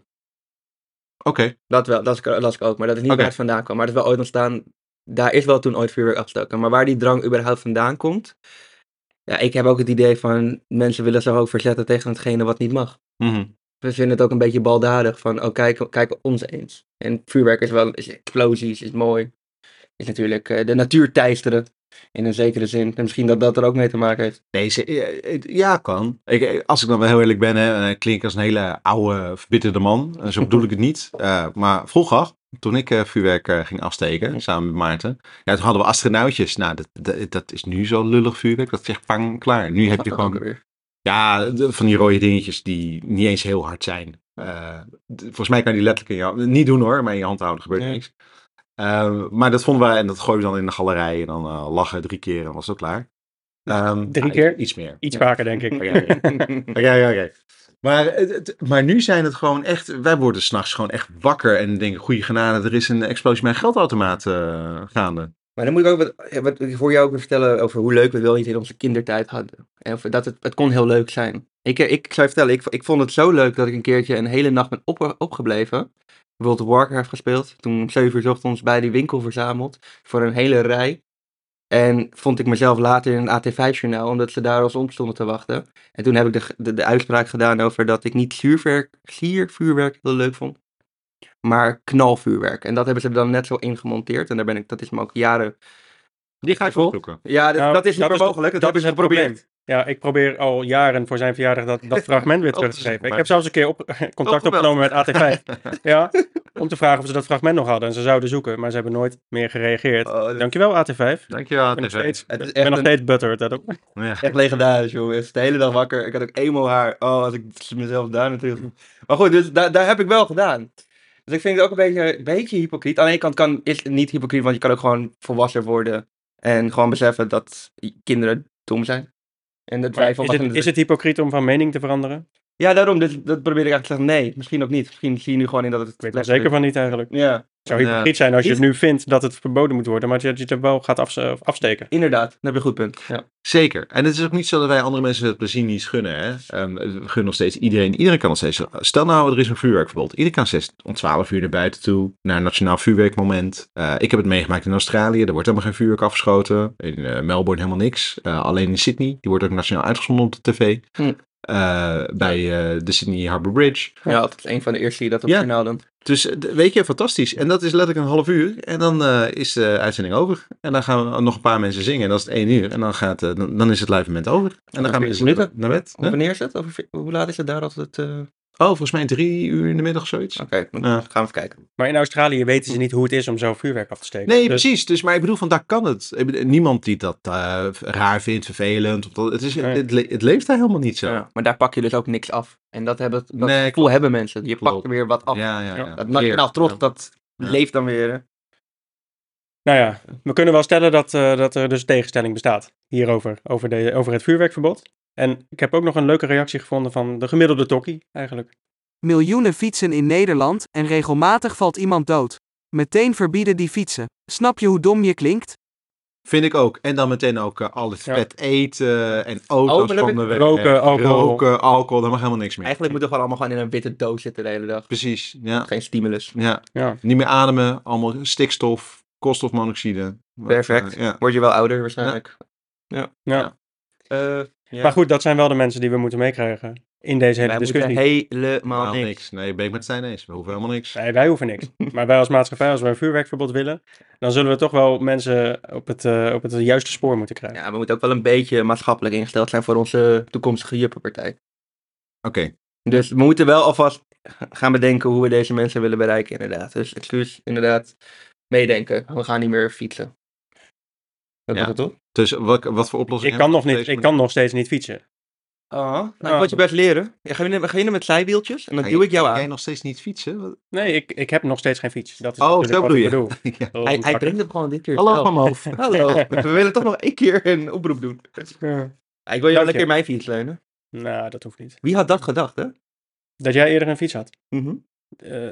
Dat wel, dat las, las ik ook, maar dat is niet
Oké.
waar het vandaan kwam. Maar dat is wel ooit ontstaan, daar is wel toen ooit vuurwerk afgestoken. Maar waar die drang überhaupt vandaan komt, Ja, ik heb ook het idee van mensen willen zich ook verzetten tegen hetgene wat niet mag.
Mhm.
We vinden het ook een beetje baldadig van, oh kijk, kijk ons eens. En vuurwerk is wel, is explosies, is mooi. Is natuurlijk eh, de natuur teisteren in een zekere zin. En misschien dat dat er ook mee te maken heeft.
Nee, ze- ja, het- ja, kan. Ik, eh, als ik dan wel heel eerlijk ben, hè, en ik klink als een hele oude, verbitterde man. Eh, Zo bedoel ik het [LAUGHS] niet. Eh, maar vroeger, toen ik eh, vuurwerk eh, ging afsteken, samen met Maarten. Ja, toen hadden we astronautjes. Nou, dat, dat, dat is nu zo lullig vuurwerk. Dat zegt pang, klaar. Nu heb je [LAUGHS]
Dat ook
gewoon
weer.
ja, de- van die rode dingetjes die niet eens heel hard zijn. Eh, d- volgens mij kan je die letterlijk in je hand... Niet doen hoor, maar in je hand houden gebeurt
Nee.
niks. Eh, maar dat vonden we, en dat gooiden we dan in de galerij. En dan eh, lachen drie keer en was het klaar. Ehm,
Drie
ja,
keer?
Iets meer.
Iets vaker, denk ik.
[LAUGHS]
Oké, oké. Oké, oké, oké. Maar, het- het- maar nu zijn het gewoon echt... Wij worden s'nachts gewoon echt wakker en denken... Goeie genade, er is een explosie bij een geldautomaat eh, gaande.
Maar dan moet ik ook wat, eh, wat ik voor jou ook weer vertellen over hoe leuk we wel niet in onze kindertijd hadden. En of, dat het, het kon heel leuk zijn. Ik, eh, ik zou je vertellen, ik, ik vond het zo leuk dat ik een keertje een hele nacht ben op, opgebleven. World of Warcraft gespeeld. Toen om 7 uur 's ochtends bij die winkel verzameld. Voor een hele rij. En vond ik mezelf later in een AT5-journaal, omdat ze daar als om stonden te wachten. En toen heb ik de, g- de, de uitspraak gedaan over dat ik niet zuurwerk, siervuurwerk heel leuk vond. Maar knalvuurwerk. En dat hebben ze dan net zo ingemonteerd. En daar ben ik, dat is me ook jaren
Die ga ik opzoeken.
ja, dat,
Nou,
dat is niet meer
de-
mogelijk.
Dat, is het probleem. Ja, ik probeer al jaren voor zijn verjaardag dat,
[LAUGHS]
dat fragment
Oh,
weer
Op te
terug te
zoeken,
geven. Ik
maar-
heb zelfs een keer op, [LAUGHS] contact
Opgebeld.
opgenomen met
[LAUGHS]
AT5. ja, om te vragen of ze dat fragment nog hadden. En ze zouden zoeken, maar ze hebben nooit meer gereagereerd.
Oh, dat-
Dankjewel AT5.
[LAUGHS] Dankjewel,
Ik ben nog
TV.
steeds,
Het is
ik
echt
ben nog
een-
steeds buttered. Dat ook.
Ja.
Echt legendarisch, joh. Ik was de hele dag wakker. Ik had ook eenmaal haar. Oh, als ik mezelf daar natuurlijk. Maar goed, dus daar, daar heb ik wel gedaan. Dus ik vind het ook een beetje, een beetje hypocriet. Aan de ene kant kan, is het niet hypocriet, want je kan ook gewoon volwassen worden. En gewoon beseffen dat kinderen dom zijn. En dat wij
Maar Is
volwassenen...
het, is het hypocriet om van mening te veranderen?
Ja, daarom. Dus dat probeer ik eigenlijk te zeggen. Nee, misschien ook niet. Misschien zie je nu gewoon in dat het...
Ik weet er zeker van niet eigenlijk.
Ja,
Het zou hypocriet zijn als je het nu vindt dat het verboden moet worden, maar dat je het er wel gaat afs- afsteken.
inderdaad. Dat heb je een goed punt. Ja.
Zeker. En het is ook niet zo dat wij andere mensen het plezier niet gunnen. Hè? Ehm, we gunnen nog steeds iedereen. Iedereen kan nog steeds. Stel nou, er is een vuurwerkverbod. Iedereen kan steeds om 12 uur naar buiten toe. Naar een nationaal vuurwerkmoment. Eh, ik heb het meegemaakt in Australië. Er wordt helemaal geen vuurwerk afgeschoten. In eh, Melbourne helemaal niks. Eh, alleen in Sydney. Die wordt ook nationaal uitgezonden op de tv.
Hm.
Eh, bij eh, de Sydney Harbour Bridge.
ja, dat is een van de eerste die dat op
Ja.
het journaal doen.
Dus eh, d- weet je, fantastisch. En dat is letterlijk een half uur. En dan eh, is de uitzending over. En dan gaan we nog een paar mensen zingen. En dat is het één uur. En dan, gaat, eh, dan, dan is het live moment over. En dan gaan
40
mensen
minuten.
naar bed.
Of
Huh?
Wanneer is het? Over vi- hoe laat is het daar altijd? eh,
Oh, volgens mij drie uur in de middag zoiets.
Oké, dan
Ja.
gaan we even kijken.
Maar in Australië weten ze niet hoe het is om zo vuurwerk af te steken.
Nee,
Dus-
precies. Dus, maar ik bedoel, van daar kan het. Ik bedoel, Niemand die dat eh, raar vindt, vervelend. Of dat, het, is,
Nee.
het, le- het leeft daar helemaal niet zo.
Ja, maar daar pak je dus ook niks af. En dat, hebben, dat
Nee,
gevoel hebben mensen. Je
Klopt.
pakt weer wat af.
ja,
Ja,
ja. ja.
Dat nationaal trots, dat
Ja.
leeft dan weer. hè.
Nou ja, we kunnen wel stellen dat, eh, dat er dus tegenstelling bestaat hierover, over, de, over het vuurwerkverbod. En ik heb ook nog een leuke reactie gevonden van de gemiddelde tokkie eigenlijk.
Miljoenen fietsen in Nederland en regelmatig valt iemand dood. Meteen verbieden die fietsen. Snap je hoe dom je klinkt?
Vind ik ook. En dan meteen ook eh, al het
Ja.
vet eten en auto's
Oh, maar dan
van
heb
de
ik-
weg.
Roken, alcohol.
Roken, alcohol. Daar mag helemaal niks meer.
Eigenlijk moeten we gewoon allemaal gewoon in een witte doos zitten de hele dag. Dus
Precies, ja.
Geen stimulus.
Ja.
Ja.
Niet meer ademen, allemaal stikstof, koolstofmonoxide. Eh,
Perfect.
Ja.
Word je wel ouder waarschijnlijk.
Ja.
Ja.
Eh, ja.
Maar goed, dat zijn wel de mensen die we moeten meekrijgen in deze hele
wij moeten
discussie.
helemaal
Helemaal
niks.
Nou, niks. Nee, ben ik met zijn eens. We hoeven helemaal niks.
Nee, wij hoeven niks. Maar wij als maatschappij, als we een vuurwerkverbod willen, dan zullen we toch wel mensen op het, eh, op het juiste spoor moeten krijgen.
Ja, we moeten ook wel een beetje maatschappelijk ingesteld zijn voor onze toekomstige juppenpartij.
Oké,
Dus we moeten wel alvast gaan bedenken hoe we deze mensen willen bereiken, inderdaad. Dus excuus, inderdaad, meedenken. We gaan niet meer fietsen. Dat
Ja.
was het toch?
dus wat, wat voor oplossing
ik, kan nog
hebben we
niet,
op
ik
deze
kan nog steeds niet fietsen.
Ah, nou, ik
Ah.
wil je best leren. Ja, ga, je, ga je met zijwieltjes en dan
Ga
duw
je-
ik
manier?
jou
Kan
aan.
jij nog steeds niet fietsen? [LAUGHS] Wat-
Nee, ik, ik heb nog steeds geen fiets. Dat is
Oh,
natuurlijk
zo
wat
bedoel
ik
je.
bedoel.
Ja.
Oh,
Hij, hij
bakker.
brengt het gewoon dit keer.
Hallo,
Oh,
van mijn hoofd.
hallo. [LAUGHS] We willen toch nog één keer een oproep doen.
Ja.
Ah, ik wil
je.
jou een keer mijn fiets leunen.
Nou, dat hoeft niet.
Wie had dat gedacht, hè?
Dat jij eerder een fiets had. Eh,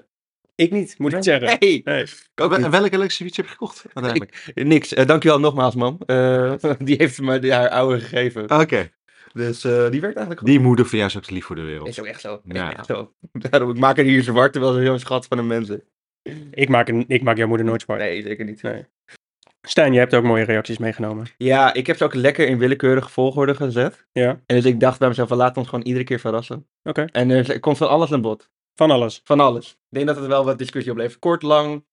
ik niet, moet ik zeggen.
[LAUGHS] Hey,
Nee.
Wel- welke elektrische fiets heb je gekocht uiteindelijk?
niks. Eh, dankjewel nogmaals, mam. Eh, [LAUGHS] die heeft me die- haar oude gegeven.
Oké,
Dus eh, die werkt eigenlijk goed.
Ah, die moeder van jou is ook lief voor de wereld.
Is ook echt zo.
Ja.
Echt zo. [LAUGHS] Daarom, ik maak er hier zwart, terwijl ze zo'n schat van de mensen.
Ik maak, een, ik maak jouw moeder nooit zwart.
Nee, zeker niet.
Nee. Stijn, je hebt ook mooie reacties meegenomen.
Ja, ik heb ze ook lekker in willekeurige volgorde gezet.
Ja, oké.
En dus ik dacht bij mezelf, van, laat ons gewoon iedere keer verrassen. En er komt van alles aan bod.
Van alles.
Van alles. Ik denk dat het wel wat discussie oplevert. Kort, lang,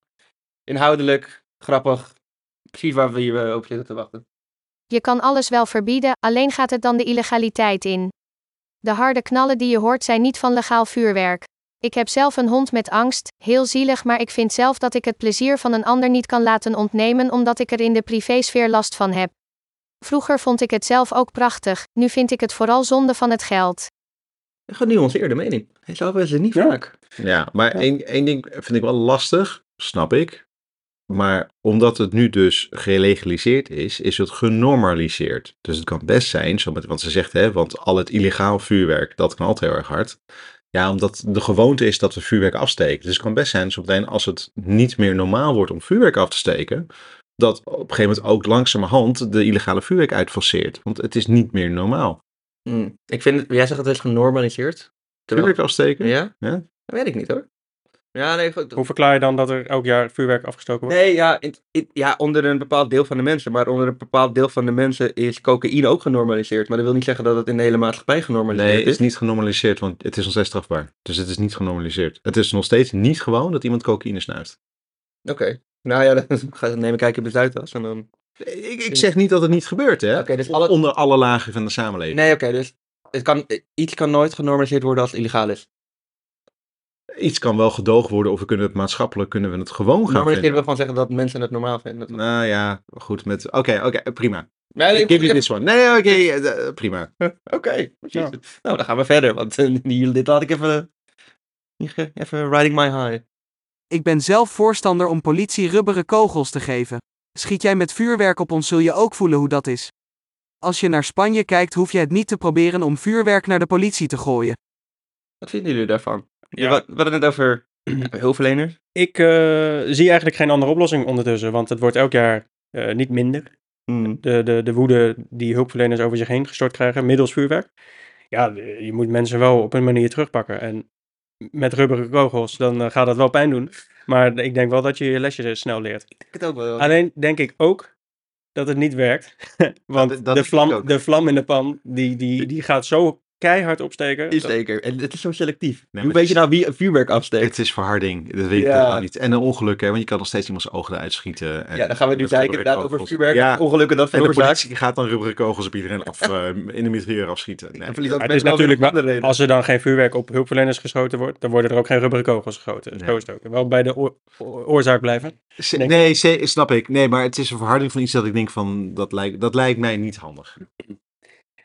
inhoudelijk, grappig. Precies waar we hier eh, op zitten te wachten.
Je kan alles wel verbieden, alleen gaat het dan de illegaliteit in. De harde knallen die je hoort zijn niet van legaal vuurwerk. Ik heb zelf een hond met angst, heel zielig, maar ik vind zelf dat ik het plezier van een ander niet kan laten ontnemen omdat ik er in de privésfeer last van heb. Vroeger vond ik het zelf ook prachtig, nu vind ik het vooral zonde van het geld.
Een genuanceerde mening. Hij zou wel eens niet
Ja.
vaak.
Ja, maar Één, één ding vind ik wel lastig, snap ik. Maar omdat het nu dus gelegaliseerd is, is het genormaliseerd. Dus het kan best zijn, zo met, want ze zegt, hè, want al het illegaal vuurwerk, dat knalt heel erg hard. Ja, omdat de gewoonte is dat we vuurwerk afsteken. Dus het kan best zijn, zometeen als het niet meer normaal wordt om vuurwerk af te steken, dat op een gegeven moment ook langzamerhand de illegale vuurwerk uitfaseert. Want het is niet meer normaal.
Mm. Ik vind het, jij zegt het is genormaliseerd. Terwijl-
Vuurwerk afsteken?
Ja?
Ja.
Dat weet ik niet hoor. Ja, nee, goed.
Hoe verklaar je dan dat er elk jaar vuurwerk afgestoken wordt?
Nee, ja, in- in- ja, onder een bepaald deel van de mensen. Maar onder een bepaald deel van de mensen is cocaïne ook genormaliseerd. Maar dat wil niet zeggen dat het in de hele maatschappij genormaliseerd
Nee, dus het is
is.
niet genormaliseerd, want het is nog steeds strafbaar. Dus het is niet genormaliseerd. Het is nog steeds niet gewoon dat iemand cocaïne snuift.
Oké. Nou ja, [LAUGHS] dan ga- dan neem ik kijken op de Zuidas en dan...
Ik, ik zeg niet dat het niet gebeurt, hè?
Oké, dus alle-
Onder alle lagen van de samenleving.
Nee, oké, dus het kan, iets kan nooit genormaliseerd worden als het illegaal is.
Iets kan wel gedoogd worden of we kunnen het maatschappelijk kunnen we het gewoon gaan
Normaliseren
vinden.
wil gewoon zeggen dat mensen het normaal vinden. Nee,
Nou ja, goed. met. Oké, oké, eh, prima.
ik-
Ik give you
ik-
this one. Nee, oké, eh, eh, prima.
Oké,
Ja.
precies. Nou, dan gaan we verder, want eh, [LAUGHS] die- dit laat ik even... eh, Even riding my high.
Ik ben zelf voorstander om politie rubberen kogels te geven. Schiet jij met vuurwerk op ons zul je ook voelen hoe dat is. Als je naar Spanje kijkt hoef je het niet te proberen om vuurwerk naar de politie te gooien.
Wat vinden jullie daarvan?
Ja.
We, we hadden het net over [CLEARS THROAT] hulpverleners.
Ik eh, zie eigenlijk geen andere oplossing ondertussen, want het wordt elk jaar eh, niet minder.
Hmm.
De, de, de woede die hulpverleners over zich heen gestort krijgen middels vuurwerk. Ja, de- je moet mensen wel op een manier terugpakken. En met rubberen kogels, dan eh, gaat dat wel pijn doen. Maar ik denk wel dat je je lesje snel leert.
Ik het ook wel.
Alleen denk ik ook dat het niet werkt. [LAUGHS] Want
dat- dat
de,
denk ik
vlam,
ook.
de vlam in de pan, die, die, die gaat zo keihard opsteken.
Is
dat-
zeker. En het is zo selectief.
maar
Hoe
het
weet
is-
je nou wie een vuurwerk afsteekt?
Het is verharding. Dat weet
Ja.
ik ook niet. En een ongeluk, hè? Want je kan nog steeds iemands ogen eruit schieten. En
ja, dan gaan we nu
met
kijken inderdaad
rubberkogels.
over vuurwerk.
Ja,
Ongelukken dat
en de
veroorzaakt.
politie gaat dan rubberen kogels op iedereen
[LAUGHS]
af, eh, in de mitrailleur afschieten. Nee.
En verliest dat
Maar het is
mensen wel weer
natuurlijk
om andere
wel,
redenen.
als er dan geen vuurwerk op hulpverleners geschoten wordt, dan worden er ook geen rubberen kogels geschoten.
Nee.
Zo is het ook. Wel bij de oor- oor- oorzaak blijven.
Z- Nee, ze- snap ik. Nee, maar het is een verharding van iets dat ik denk van, dat lijkt, dat lijkt mij niet handig.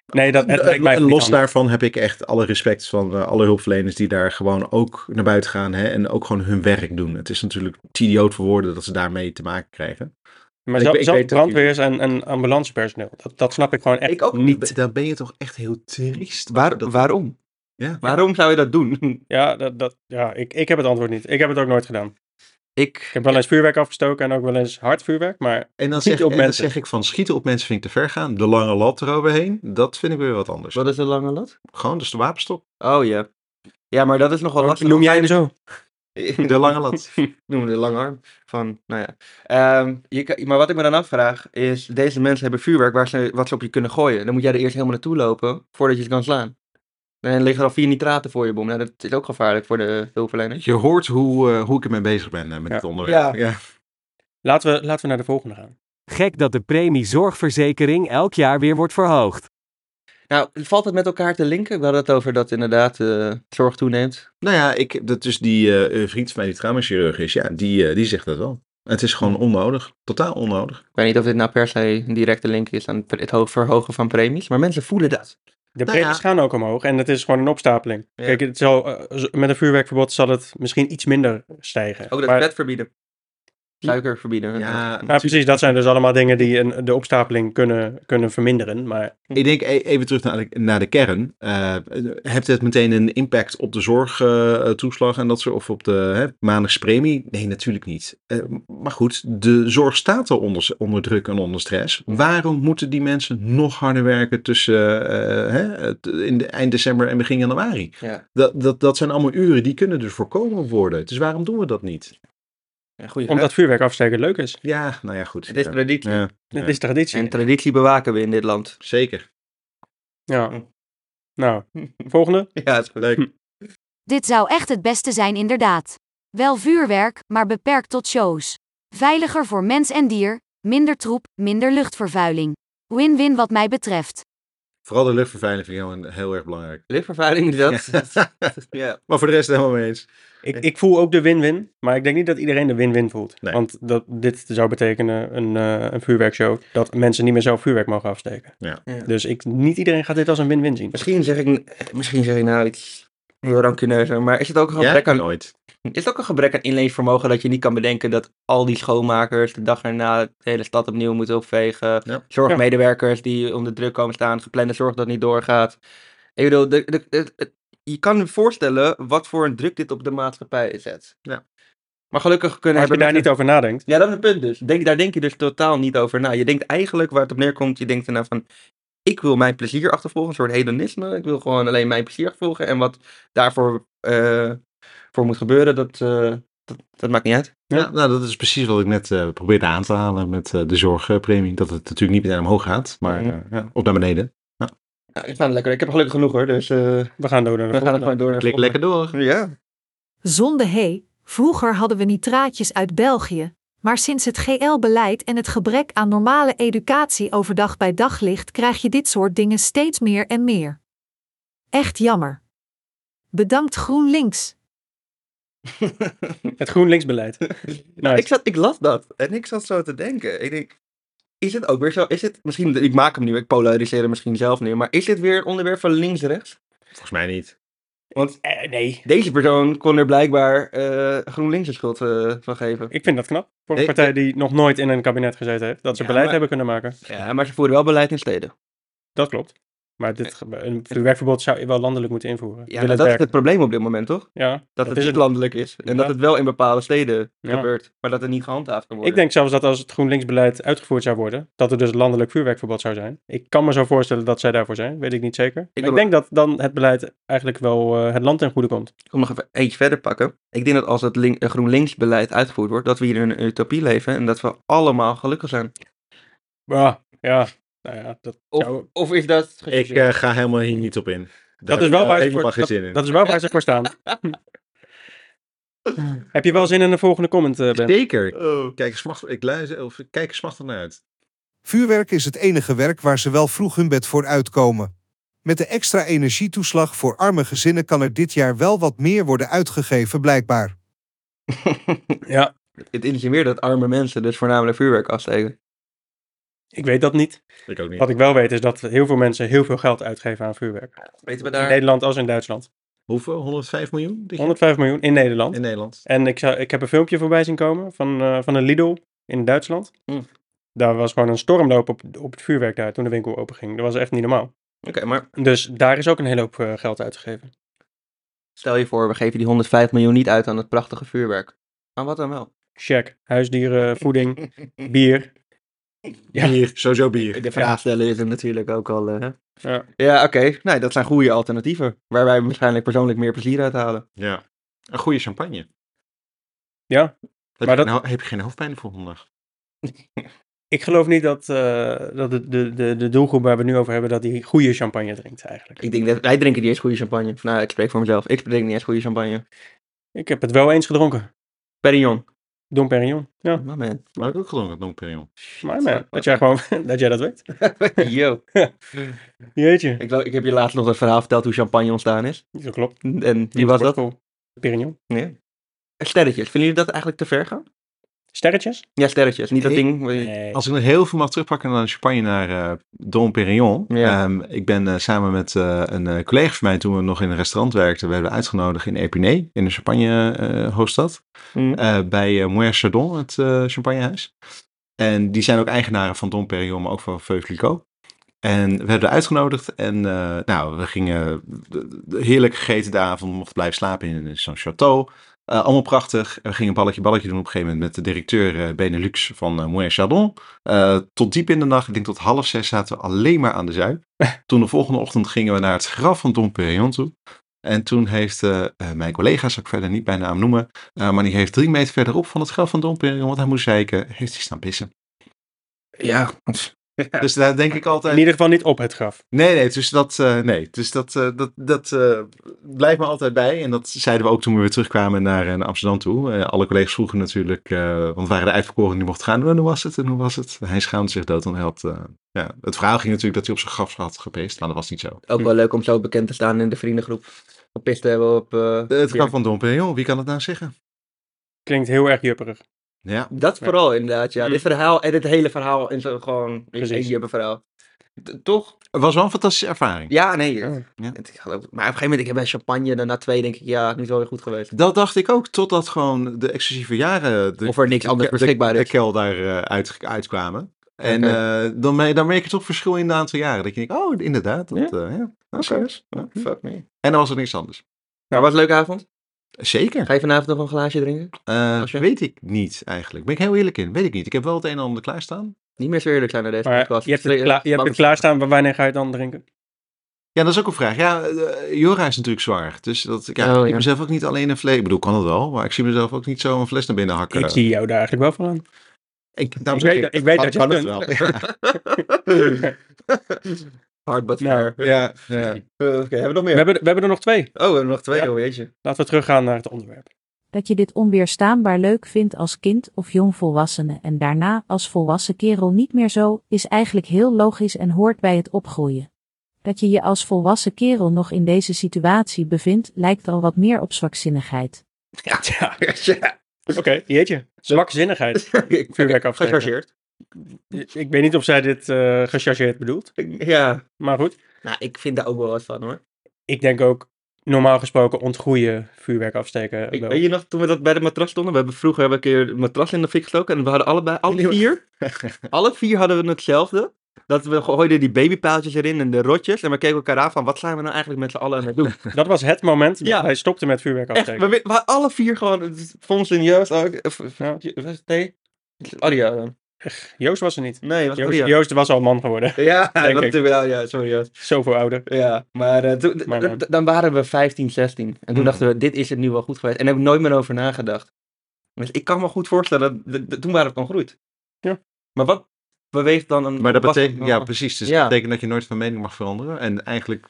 Nee, dat het lijkt mij
en
niet
los
handig.
daarvan heb ik echt alle respect van eh, alle hulpverleners die daar gewoon ook naar buiten gaan hè, en ook gewoon hun werk doen. Het is natuurlijk te idioot voor woorden dat ze daarmee te maken krijgen.
Maar
Ik
zelf,
weet- ik
zelf
weet dat
brandweers en, en ambulancepersoneel, dat, dat snap ik gewoon echt
Ik ook
niet.
Dan ben je toch echt heel triest.
Waar-
Dat-
waarom?
Ja.
Waarom zou je dat doen? [LAUGHS]
Ja, dat, dat, ja ik, ik heb het antwoord niet. Ik heb het ook nooit gedaan. Ik
ik,
heb wel eens vuurwerk afgestoken en ook wel eens hard vuurwerk, maar
En
Schieten
dan, zeg,
op
en dan
mensen.
zeg ik van schieten op mensen vind ik te ver gaan. De lange lat eroverheen, dat vind ik weer wat anders.
wat is de lange lat?
Gewoon, dus de [LAUGHS] wapenstop.
Oh ja. Ja, maar dat is nogal lastig.
noem jij hem zo?
De lange lat.
noem de lange arm. Van, nou ja. Ehm, je, kan- maar wat ik me dan afvraag is, deze mensen hebben vuurwerk waar ze, wat ze op je kunnen gooien. Dan moet jij er eerst helemaal naartoe lopen voordat je ze kan slaan. Dan liggen er al vier nitraten voor je bom. Nou, dat is ook gevaarlijk voor de hulpverleners.
Je hoort hoe, eh, hoe ik ermee bezig ben eh, met
Ja.
dit onderwerp.
Ja.
Laten we, laten we naar de volgende gaan.
Gek dat de premie zorgverzekering elk jaar weer wordt verhoogd.
Nou, valt het met elkaar te linken? We hadden het over dat inderdaad eh, zorg toeneemt.
Nou ja, ik, dat dus die eh, vriend van mij die traumachirurg is, ja, die, eh, die zegt dat wel. Het is gewoon onnodig. Totaal onnodig.
Ik weet niet of dit nou per se een directe link is aan het ho- verhogen van premies. Maar mensen voelen dat.
De
Nou ja.
premies gaan ook omhoog en het is gewoon een opstapeling.
Ja.
Kijk, het zal, eh, z- met een vuurwerkverbod zal het misschien iets minder stijgen.
Ook dat
Maar-
vet verbieden. Suiker verbieden.
Ja, precies. Dat zijn dus allemaal dingen die een, de opstapeling kunnen, kunnen verminderen. Maar
Ik denk e- even terug naar de, naar de kern. Eh heeft het meteen een impact op de zorgtoeslag en dat soort, of op de hè, maandelijkse premie? Nee, natuurlijk niet. Eh, maar goed, de zorg staat al onder, onder druk en onder stress. Waarom moeten die mensen nog harder werken tussen eh, hè, het- in de, eind december en begin januari?
Ja.
Dat, dat, dat zijn allemaal uren die kunnen dus voorkomen worden. Dus waarom doen we dat niet?
Ja, goeie
Omdat vuurwerk afsteken leuk is.
Ja, nou ja, goed.
Het is
Ja.
traditie.
Ja,
Het
Ja.
is traditie.
En traditie bewaken we in dit land.
zeker.
Ja.
Hmm.
Nou, volgende.
[LAUGHS] Ja, het is goed.
Leuk.
Dit zou echt het beste zijn, inderdaad. Wel vuurwerk, maar beperkt tot shows. Veiliger voor mens en dier, minder troep, minder luchtvervuiling. Win-win wat mij betreft.
Vooral de luchtvervuiling vind ik heel, heel erg belangrijk.
Lichtvervuiling is dat. [LAUGHS] ja.
maar voor de rest helemaal mee eens.
Ik, ik voel ook de win-win, maar ik denk niet dat iedereen de win-win voelt.
Nee.
Want dat, dit zou betekenen een, eh, een vuurwerkshow dat mensen niet meer zelf vuurwerk mogen afsteken.
Ja.
Ja.
Dus ik, niet iedereen gaat dit als een win-win zien.
Misschien zeg ik, misschien zeg ik nou iets heel rancuneuzer, maar is het ook een gebrek aan
nooit.
Is het ook een gebrek aan inleefvermogen dat je niet kan bedenken dat al die schoonmakers de dag erna de hele stad opnieuw moeten opvegen?
Ja.
Zorgmedewerkers die onder druk komen staan, geplande zorg dat niet doorgaat. Ik bedoel, de, de, de- het- je kan je voorstellen wat voor een druk dit op de maatschappij zet.
Ja.
Maar gelukkig kunnen
Als je daar
mensen-
niet over nadenkt.
Ja, dat is het punt dus. Denk, daar denk je dus totaal niet over na. Je denkt eigenlijk waar het op neerkomt, je denkt ernaar van... Ik wil mijn plezier achtervolgen, een soort hedonisme. Ik wil gewoon alleen mijn plezier achtervolgen. En wat daarvoor eh, voor moet gebeuren, dat, eh, dat, dat maakt niet uit.
Ja, nou, dat is precies wat ik net eh, probeerde aan te halen met eh, de zorgpremie. Dat het natuurlijk niet meteen omhoog gaat, maar
Mhm.
eh, ja, op naar beneden.
Nou, ik sta er lekker. Ik heb er gelukkig genoeg hoor, dus eh,
We gaan door naar de
we gaan
volgende.
er gewoon door. naar de
Klik lekker
volgende.
door.
Ja.
[LAUGHS]
Zonde hé, vroeger hadden we nitraatjes uit België, maar sinds het GL-beleid en het gebrek aan normale educatie over dag bij daglicht krijg je dit soort dingen steeds meer en meer. Echt jammer. Bedankt GroenLinks.
Het
[LAUGHS]
Nou, GroenLinks-beleid. Nice.
Ik, zat, ik las dat en ik zat zo te denken. Ik denk, is het ook weer zo? Is het, misschien, ik maak hem nu, ik polariseer hem misschien zelf nu. Maar is dit weer een onderwerp van links-rechts?
Volgens mij niet.
Want
Eh, nee.
Deze persoon kon er blijkbaar eh GroenLinks een schuld eh, van geven.
Ik vind dat knap. Voor een
Ik-
partij die nog nooit in een kabinet gezeten heeft. Dat ze
Ja,
beleid
maar-
hebben kunnen maken.
Ja, maar ze voeren wel beleid in steden.
Dat klopt. Maar dit, ge- een vuurwerkverbod zou je wel landelijk moeten invoeren.
Ja,
Wil
maar
het
dat is
werken?
het probleem op dit moment, toch?
Ja,
Dat,
is
het niet
het.
landelijk is. En dat
Ja.
het wel in bepaalde steden
Ja.
gebeurt, maar dat het niet gehandhaafd kan worden.
Ik denk zelfs dat als het GroenLinks-beleid uitgevoerd zou worden, dat er dus landelijk vuurwerkverbod zou zijn. Ik kan me zo voorstellen dat zij daarvoor zijn, weet ik niet zeker. Ik, ik
wil-
denk dat dan het beleid eigenlijk wel eh, het land ten goede komt.
Ik kom nog even eentje verder pakken. Ik denk dat als het link- eh, GroenLinks-beleid uitgevoerd wordt, dat we hier in een utopie leven en dat we allemaal gelukkig zijn.
Ja, Ah, ja. Nou ja, dat,
Of,
zou-
of is dat...
Ik eh, ga helemaal hier niet op in. Daar
dat is wel
heb ik
waar ze
helemaal
voor,
geen
dat,
zin in.
dat is wel waar ze voor staan. Heb je wel zin in de volgende comment, eh, Ben?
Zeker. Kijk, smacht, ik luister, of ik kijk smachtig naar uit.
Vuurwerk is het enige werk waar ze wel vroeg hun bed voor uitkomen. Met de extra energietoeslag voor arme gezinnen kan er dit jaar wel wat meer worden uitgegeven, blijkbaar.
Ja,
het insinueert dat arme mensen dus voornamelijk vuurwerk afsteken.
ik weet dat niet.
Ik ook niet.
Wat ik wel weet is dat heel veel mensen heel veel geld uitgeven aan vuurwerk.
Weten we
In Nederland als in Duitsland.
Hoeveel? 105 miljoen? dit jaar?
105 miljoen in Nederland.
In Nederland.
En ik, zou, ik heb een filmpje voorbij zien komen van, eh, van een Lidl in Duitsland.
Mm.
Daar was gewoon een stormloop op, op het vuurwerk daar toen de winkel openging. Dat was echt niet normaal.
Oké, maar
Dus daar is ook een hele hoop eh, geld uitgegeven.
stel je voor, we geven die 105 miljoen niet uit aan het prachtige vuurwerk. Aan wat dan wel?
Check, huisdieren, voeding, bier. Ja.
Bier, sowieso bier.
De vraag stellen is er natuurlijk ook al. eh, hè?
Ja.
Ja, oké. Nee, dat zijn goede alternatieven. Waar wij waarschijnlijk persoonlijk meer plezier uit halen.
Ja. Een goede champagne.
Ja,
Heb,
maar
je,
dat-
nou, heb je geen hoofdpijn voor vandaag?
Ik geloof niet dat, eh, dat de, de, de, de doelgroep waar we het nu over hebben, dat die goede champagne drinkt eigenlijk.
Ik denk dat wij drinken niet eens goede champagne. Nou, ik spreek voor mezelf. Ik drink niet eens goede champagne.
Ik heb het wel eens gedronken.
Perignon.
Dom Perignon. Ja,
My man. [LAUGHS]
Maar ik ook gedronken, Don Perignon.
maar man, dat jij gewoon, [LAUGHS] dat jij dat weet.
Yo.
Jeetje.
Ik, geloof- ik heb je laatst nog dat verhaal verteld hoe champagne ontstaan is.
Dat klopt.
En wie was dat?
Perignon.
Ja. Sterretjes. Vinden jullie dat eigenlijk te ver gaan?
Sterretjes?
Ja, sterretjes. Niet dat
Ik-
ding. waar je-
Nee.
Als ik nog heel veel mag terugpakken naar de champagne naar eh Don Perignon.
Ja.
Ehm, ik ben eh, samen met eh, een eh, collega van mij, toen we nog in een restaurant werkten, werden we uitgenodigd in Epinay, in de champagne eh, hoofdstad.
Mm.
Eh, bij eh Moët Chardon, het eh, champagnehuis. En die zijn ook eigenaren van Dom Perignon, maar ook van Veuve Clicquot. En we werden uitgenodigd en eh, nou, we gingen de- de- heerlijk gegeten de avond, we mochten blijven slapen in zo'n château. Eh, allemaal prachtig. En we gingen balletje balletje doen op een gegeven moment met de directeur eh, Benelux van eh Moët Chardon. Eh, tot diep in de nacht, ik denk tot half zes zaten we alleen maar aan de zuip. Toen de volgende ochtend gingen we naar het graf van Dom Perignon toe. En toen heeft eh, eh, mijn collega, zal ik verder niet bij naam noemen, eh, maar die heeft drie meter verderop van het graf van Dompering, want hij moest zeiken, heeft hij staan pissen.
Ja.
Dus daar denk ik altijd,
In ieder geval niet op het graf.
Nee, nee, dus dat, eh, nee, dus dat, eh, dat, dat eh, blijft me altijd bij. En dat zeiden we ook toen we weer terugkwamen naar, eh, naar Amsterdam toe. Eh, alle collega's vroegen natuurlijk, eh, want we waren de uitverkoren die mocht gaan. En hoe was het? En hoe was het? Hij schaamde zich dood, want hij had... eh, ja, het verhaal ging natuurlijk dat hij op zijn graf had gepeest, maar dat was niet zo.
Hm.
Ook wel leuk om zo bekend te staan in de vriendengroep. Gepist te hebben op... eh,
Eh, Het
Ja.
graf van Dompen, joh, wie kan het nou zeggen?
Klinkt heel erg jupperig.
Ja,
Dat
Ja.
vooral inderdaad, ja.
Mm.
Dit verhaal en dit hele verhaal in zo gewoon
Precies.
een jubber verhaal. D- toch?
het was wel een fantastische ervaring.
Ja, nee.
Ja.
Het- ik geloof- maar op een gegeven moment, ik heb bij champagne, dan na twee denk ik, ja, nu is wel weer goed geweest.
Dat dacht ik ook, totdat gewoon de exclusieve jaren... De,
Of er niks anders
de-
beschikbaar
de,
is.
de kel daar eh, uit, uitkwamen. En
Oké.
eh, dan, me- dan merk je toch verschil in de aantal jaren. Dat je denkt, oh, inderdaad. Dat,
Ja?
eh, ja. Nou, serieus. Ja.
Hm.
Fuck me.
En dan was er niks anders.
Nou, was een leuke avond.
Zeker.
Ga je vanavond nog een glaasje drinken?
Eh,
Als je-
Weet ik niet eigenlijk. Ben ik heel eerlijk in. Weet ik niet. Ik heb wel het een en ander klaarstaan.
Niet meer zo eerlijk zijn naar deze
Maar
podcast.
je hebt het, kla- je hebt het klaarstaan, maar wanneer ga je het dan drinken?
Ja, dat is ook een vraag. Ja, eh, Jora is natuurlijk zwaar. Dus dat, ik- ja,
Oh,
ik zie
ja.
mezelf ook niet alleen een fles. Ik bedoel, kan het wel. Maar ik zie mezelf ook niet zo een fles naar binnen
eh,
hakken.
Ik zie jou daar eigenlijk wel van aan.
Ik-
Nou,
daarom
ik
zeg
weet dat- ik weet dat je het
[LAUGHS]
[LAUGHS]
Hard but
Nou,
fair.
Ja, ja.
Eh, [LAUGHS] Oké, hebben we nog
We
meer?
hebben, we hebben er nog twee.
Oh, we hebben nog twee,
Ja. [LAUGHS]
oh jeetje.
Laten we teruggaan naar het onderwerp.
dat je dit onweerstaanbaar leuk vindt als kind of jongvolwassene en daarna als volwassen kerel niet meer zo, is eigenlijk heel logisch en hoort bij het opgroeien. Dat je je als volwassen kerel nog in deze situatie bevindt, lijkt al wat meer op zwakzinnigheid.
Ja,
[LAUGHS] ja,
oké. Jeetje. Zwakzinnigheid.
ik
Vuurwerk afsteken.
gechargeerd.
Ik weet niet of zij dit eh gechargeerd bedoelt.
Ja.
Maar goed.
Nou, ik vind daar ook wel wat van hoor.
Ik denk ook, normaal gesproken ontgroeien vuurwerk afsteken.
Ik,
wel.
weet je nog, toen we dat bij de matras stonden, we hebben vroeger hebben we een keer het matras in de fik gestoken en we hadden allebei, alle vier, alle vier hadden we hetzelfde. Dat we gooiden die babypaaltjes erin en de rotjes en we keken elkaar aan van wat zijn we nou eigenlijk met z'n allen aan het doen.
Dat was het moment dat
Ja.
hij stopte met vuurwerk
Echt,
afsteken.
we, we waren alle vier gewoon, het is Fons en Joost ook, eh, v- v- was het nee? Aria dan.
Joost was er niet.
Nee, was
Joost,
Aria.
Joost was al man geworden. [LAUGHS]
Ja,
Denk
dat
ik.
natuurlijk wel, ja, sorry Joost.
Zoveel ouder.
Ja, maar, eh, toen- d-
Maar, eh,
d- dan waren we 15, 16. En toen
Hmm.
dachten we, dit is het nu wel goed geweest. En daar heb ik nooit meer over nagedacht. Dus ik kan me goed voorstellen, dat, d- d- toen waren we gegroeid.
Ja.
Maar wat beweegt dan een...
Maar dat
was-
betekent, ja precies, dus
Ja.
dat betekent dat je nooit van mening mag veranderen. En eigenlijk...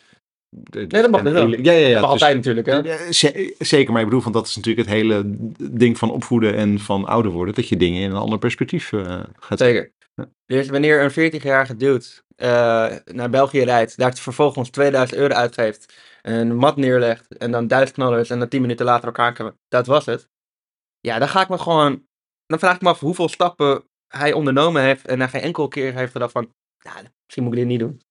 Nee,
dat mag dus wel.
Ja, ja, ja.
Mag
dus-
altijd natuurlijk, hè?
Ja, ze- Zeker, maar ik bedoel, van dat is natuurlijk het hele ding van opvoeden en van ouder worden. Dat je dingen in een ander perspectief eh, gaat zien.
Zeker. Dus wanneer een 40-jarige dude eh, naar België rijdt, daar vervolgens 2000 euro uitgeeft, een mat neerlegt en dan duizend knallers en dan 10 minuten later elkaar kan, dat was het. Ja, dan ga ik me gewoon, dan vraag ik me af hoeveel stappen hij ondernomen heeft en hij geen enkel keer heeft gedacht van, nou, misschien moet ik dit niet doen.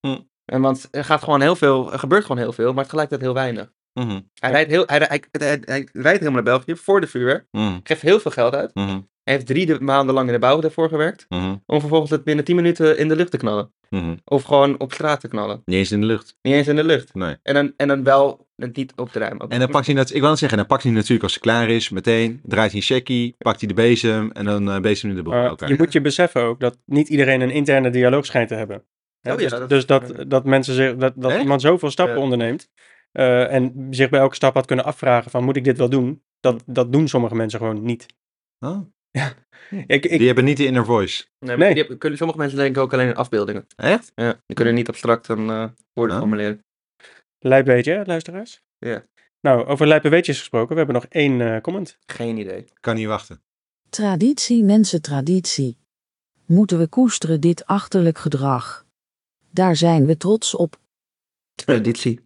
Hm.
En want er gaat gewoon heel veel, er gebeurt gewoon heel veel, maar tegelijkertijd heel weinig.
Mhm,
Hij, rijdt, heel, hij, hij, hij, hij rijdt helemaal naar België voor de vuurwerk,
mhm,
geeft heel veel geld uit.
mhm,
Hij heeft drie de- maanden lang in de bouw daarvoor gewerkt
mhm,
om vervolgens het binnen 10 minuten in de lucht te knallen.
mhm.
Of gewoon op straat te knallen.
Niet eens in de lucht.
Niet eens in de lucht.
Nee.
En dan, en dan wel het niet op de ruim.
En dan pakt hij dat, ik wil net zeggen, dan pakt hij natuurlijk als hij klaar is, meteen draait hij een checkie, pakt hij de bezem en dan eh bezem in de boel.
Maar
elkaar.
je moet je beseffen ook dat niet iedereen een interne dialoog schijnt te hebben. Hè,
Oh ja,
dus
dat-
dat, dus dat, dat mensen zich, dat, dat
Echt?
iemand zoveel stappen
Ja.
onderneemt eh, en zich bij elke stap had kunnen afvragen van moet ik dit wel doen? Dat, dat doen sommige mensen gewoon niet.
Huh?
Ik, ik,
Die hebben niet de inner voice.
Nee,
Nee.
die hebben- kunnen, sommige mensen denken ook alleen in afbeeldingen.
Echt?
Ja, die kunnen niet abstract een eh woorden
Ja.
formuleren.
Lijp weet je, hè, luisteraars?
Ja.
Nou, over lijpe weetjes gesproken, we hebben nog één eh, comment.
Geen idee.
Kan niet wachten.
Traditie mensen traditie. Moeten we koesteren dit achterlijk gedrag? Daar zijn we trots op.
Traditie.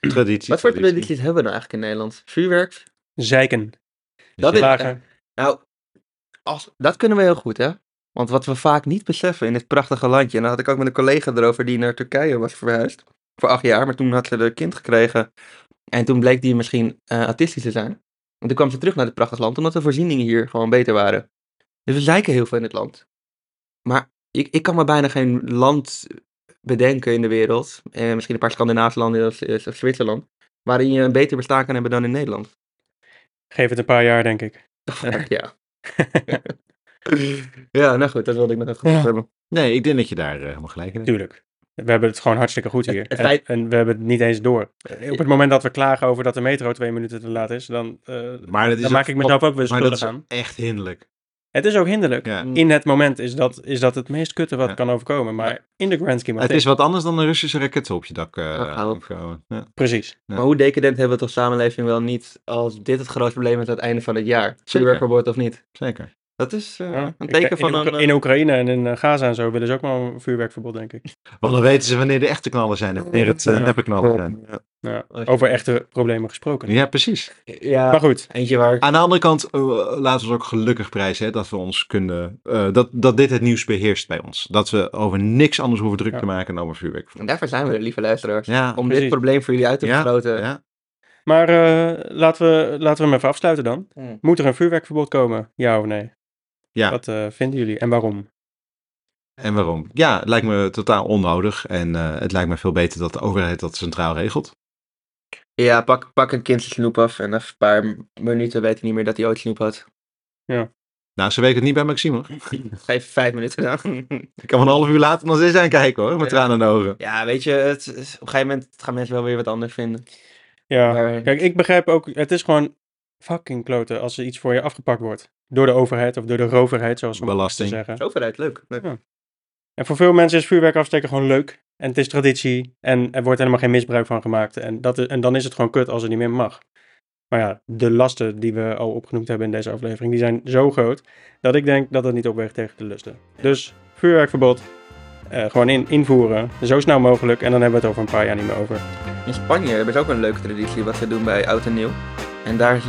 Traditie.
Wat voor tradities hebben we nou eigenlijk in Nederland? Vuurwerk?
Zeiken. Dus
Dat is-
Slagen.
Nou, als, dat kunnen we heel goed, hè? Want wat we vaak niet beseffen in dit prachtige landje. En daar had ik ook met een collega erover die naar Turkije was verhuisd. Voor acht jaar, maar toen had ze een kind gekregen. En toen bleek die misschien eh, autistisch te zijn. En toen kwam ze terug naar dit prachtige land, omdat de voorzieningen hier gewoon beter waren. Dus we zeiken heel veel in het land. Maar ik, ik kan me bijna geen land bedenken in de wereld. Eh, misschien een paar Scandinavische landen of, of Zwitserland. Waarin je een beter bestaan kan hebben dan in Nederland.
Geef het een paar jaar, denk ik.
Ja. ja, nou goed, dat wilde ik nog even gezegd hebben.
Nee, ik denk dat je daar eh, helemaal gelijk in hebt.
Tuurlijk. We hebben het gewoon hartstikke goed
Het-
hier.
het feit-
en, en we hebben het niet eens door. Op het moment dat we klagen over dat de metro twee minuten te laat is, dan, eh,
Maar dat is
dan maak ik mezelf ook weer
maar
schuldig
dat is
aan. Mm.
echt hinderlijk.
Het is ook hinderlijk.
Ja.
In het moment is dat, is dat het meest kutte wat
Ja.
kan overkomen. Maar in de grand scheme of
Het is
things,
wat anders dan een Russische raket op je dak. eh,
hou op.
komen. ja.
precies.
Ja.
Maar hoe decadent hebben we het als samenleving wel niet als dit het grootste probleem is aan het einde van het jaar? Vuurwerkverbod of niet?
Zeker.
Dat is eh,
Ja.
een
Ik-
teken
in,
van
Oekra-
een... eh,
in Oekraïne en in eh, Gaza en zo willen ze ook wel een vuurwerkverbod, denk ik.
Want dan weten ze wanneer de echte knallen zijn en wanneer het eh,
Ja.
neppe knallen zijn.
ja.
Ja,
Als je-
over echte problemen gesproken.
Ja, precies.
Ja,
Maar goed,
eentje waar...
Aan de andere kant eh, laten we ons ook gelukkig prijzen hè, dat we ons kunnen. eh, dat, dat dit het nieuws beheerst bij ons. Dat we over niks anders hoeven druk
Ja.
te maken dan over vuurwerk.
En daarvoor zijn we er, lieve luisteraars.
Ja,
Om
precies.
dit probleem voor jullie uit te
ja,
vergroten.
ja.
maar eh, laten, we, laten we hem even afsluiten dan.
Hmm.
Moet er een vuurwerkverbod komen? Ja of nee?
Ja.
Wat eh, vinden jullie en waarom?
En waarom? Ja, het lijkt me totaal onnodig. En eh, het lijkt me veel beter dat de overheid dat centraal regelt.
Ja, pak, pak een kind zijn snoep af en na een paar m- minuten weet hij niet meer dat hij ooit snoep had.
Nou, ze weten het niet bij Maxime. hoor.
Geef vijf minuten dan. [LAUGHS]
Ik kan van een half uur later nog eens aankijken hoor, met
Ja.
tranen in de ogen.
ja, weet je, het, is- op een gegeven moment gaan mensen wel weer wat anders vinden.
Ja,
Maar-
kijk, ik begrijp ook, het is gewoon fucking kloten als er iets voor je afgepakt wordt. Door de overheid of door de roverheid, zoals we
Belasting.
zeggen.
Overheid, leuk. leuk.
Ja. En voor veel mensen is vuurwerk afsteken gewoon leuk. En het is traditie. En er wordt helemaal geen misbruik van gemaakt. En, dat is- en dan is het gewoon kut als het niet meer mag. Maar ja, de lasten die we al opgenoemd hebben in deze aflevering, die zijn zo groot dat ik denk dat dat niet opweegt tegen de lusten. Dus vuurwerkverbod, eh, gewoon in, invoeren, zo snel mogelijk. En dan hebben we het over een paar jaar niet meer over.
In Spanje hebben ze ook een leuke traditie wat ze doen bij Oud en Nieuw. En daar is-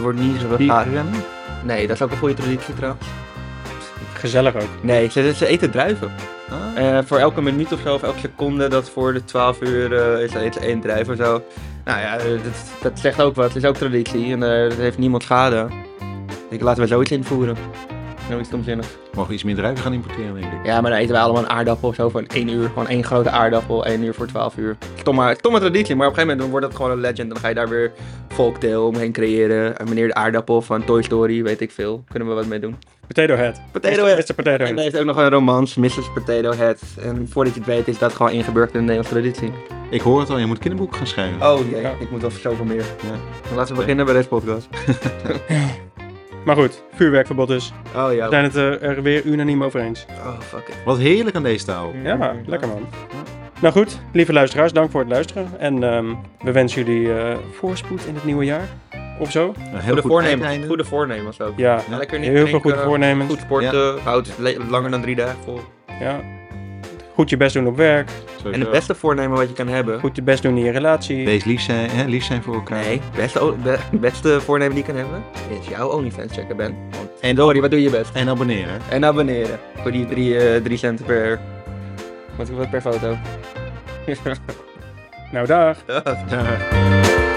wordt niet zo Ah,
rennen?
Nee, dat is ook een goede traditie trouwens.
Gezellig ook.
Nee, ze, ze eten druiven.
Ah.
Eh, voor elke minuut of zo, of elke seconde, dat voor de 12 uur eh, is er eten één druif of zo. Nou ja, eh, dat, dat zegt ook wat. Het is ook traditie en eh, dat heeft niemand schade. Ik laten we zoiets invoeren. Zoiets domzinnigs.
Mogen we iets meer druiven gaan importeren, denk ik.
Ja, maar dan eten wij allemaal een aardappel of zo van één uur. Gewoon één grote aardappel, één uur voor 12 uur. Stomme, stomme traditie, maar op een gegeven moment dan wordt dat gewoon een legend. Dan ga je daar weer folktale omheen creëren. En meneer de aardappel van Toy Story, weet ik veel. Kunnen we wat mee doen.
Potato Head.
Potato
Mr.
Head.
Mr. Potato
En hij
Head.
heeft ook nog een romans, Mrs. Potato Head. En voordat je het weet is dat gewoon ingeburgd in de Nederlandse traditie.
Ik hoor het al, je moet kinderboek gaan schrijven.
Oh jee,
Ja.
ik moet wel zoveel meer.
Ja.
Dan laten we beginnen bij deze podcast.
Maar goed, vuurwerkverbod dus.
Oh
We
ja,
zijn het er, er weer unaniem over eens.
oh fuck it.
Wat heerlijk aan deze taal.
Ja, lekker man. Nou goed, lieve luisteraars, dank voor het luisteren. En ehm, we wensen jullie eh, voorspoed in het nieuwe jaar. Of zo.
Een heel
Goede
goed
voornemens,
uiteinde.
goede voornemens ook.
Ja,
Ja,
Lekker niet
heel veel
drinken,
goede voornemens.
Goed
Goed.
sporten, houd het le- langer dan drie dagen vol.
Ja. goed je best doen op werk.
Sowieso.
En het beste voornemen wat je kan hebben.
Goed je best doen in je relatie.
Wees lief zijn, hè, lief zijn voor elkaar.
Nee, beste, o- be- beste voornemen die je kan hebben is jouw OnlyFans checken, Ben. Want, en sorry, wat doe je best?
En abonneren.
En abonneren. Voor die drie, eh, drie cent per... Wat, wat per foto?
Nou, dag.
Ja.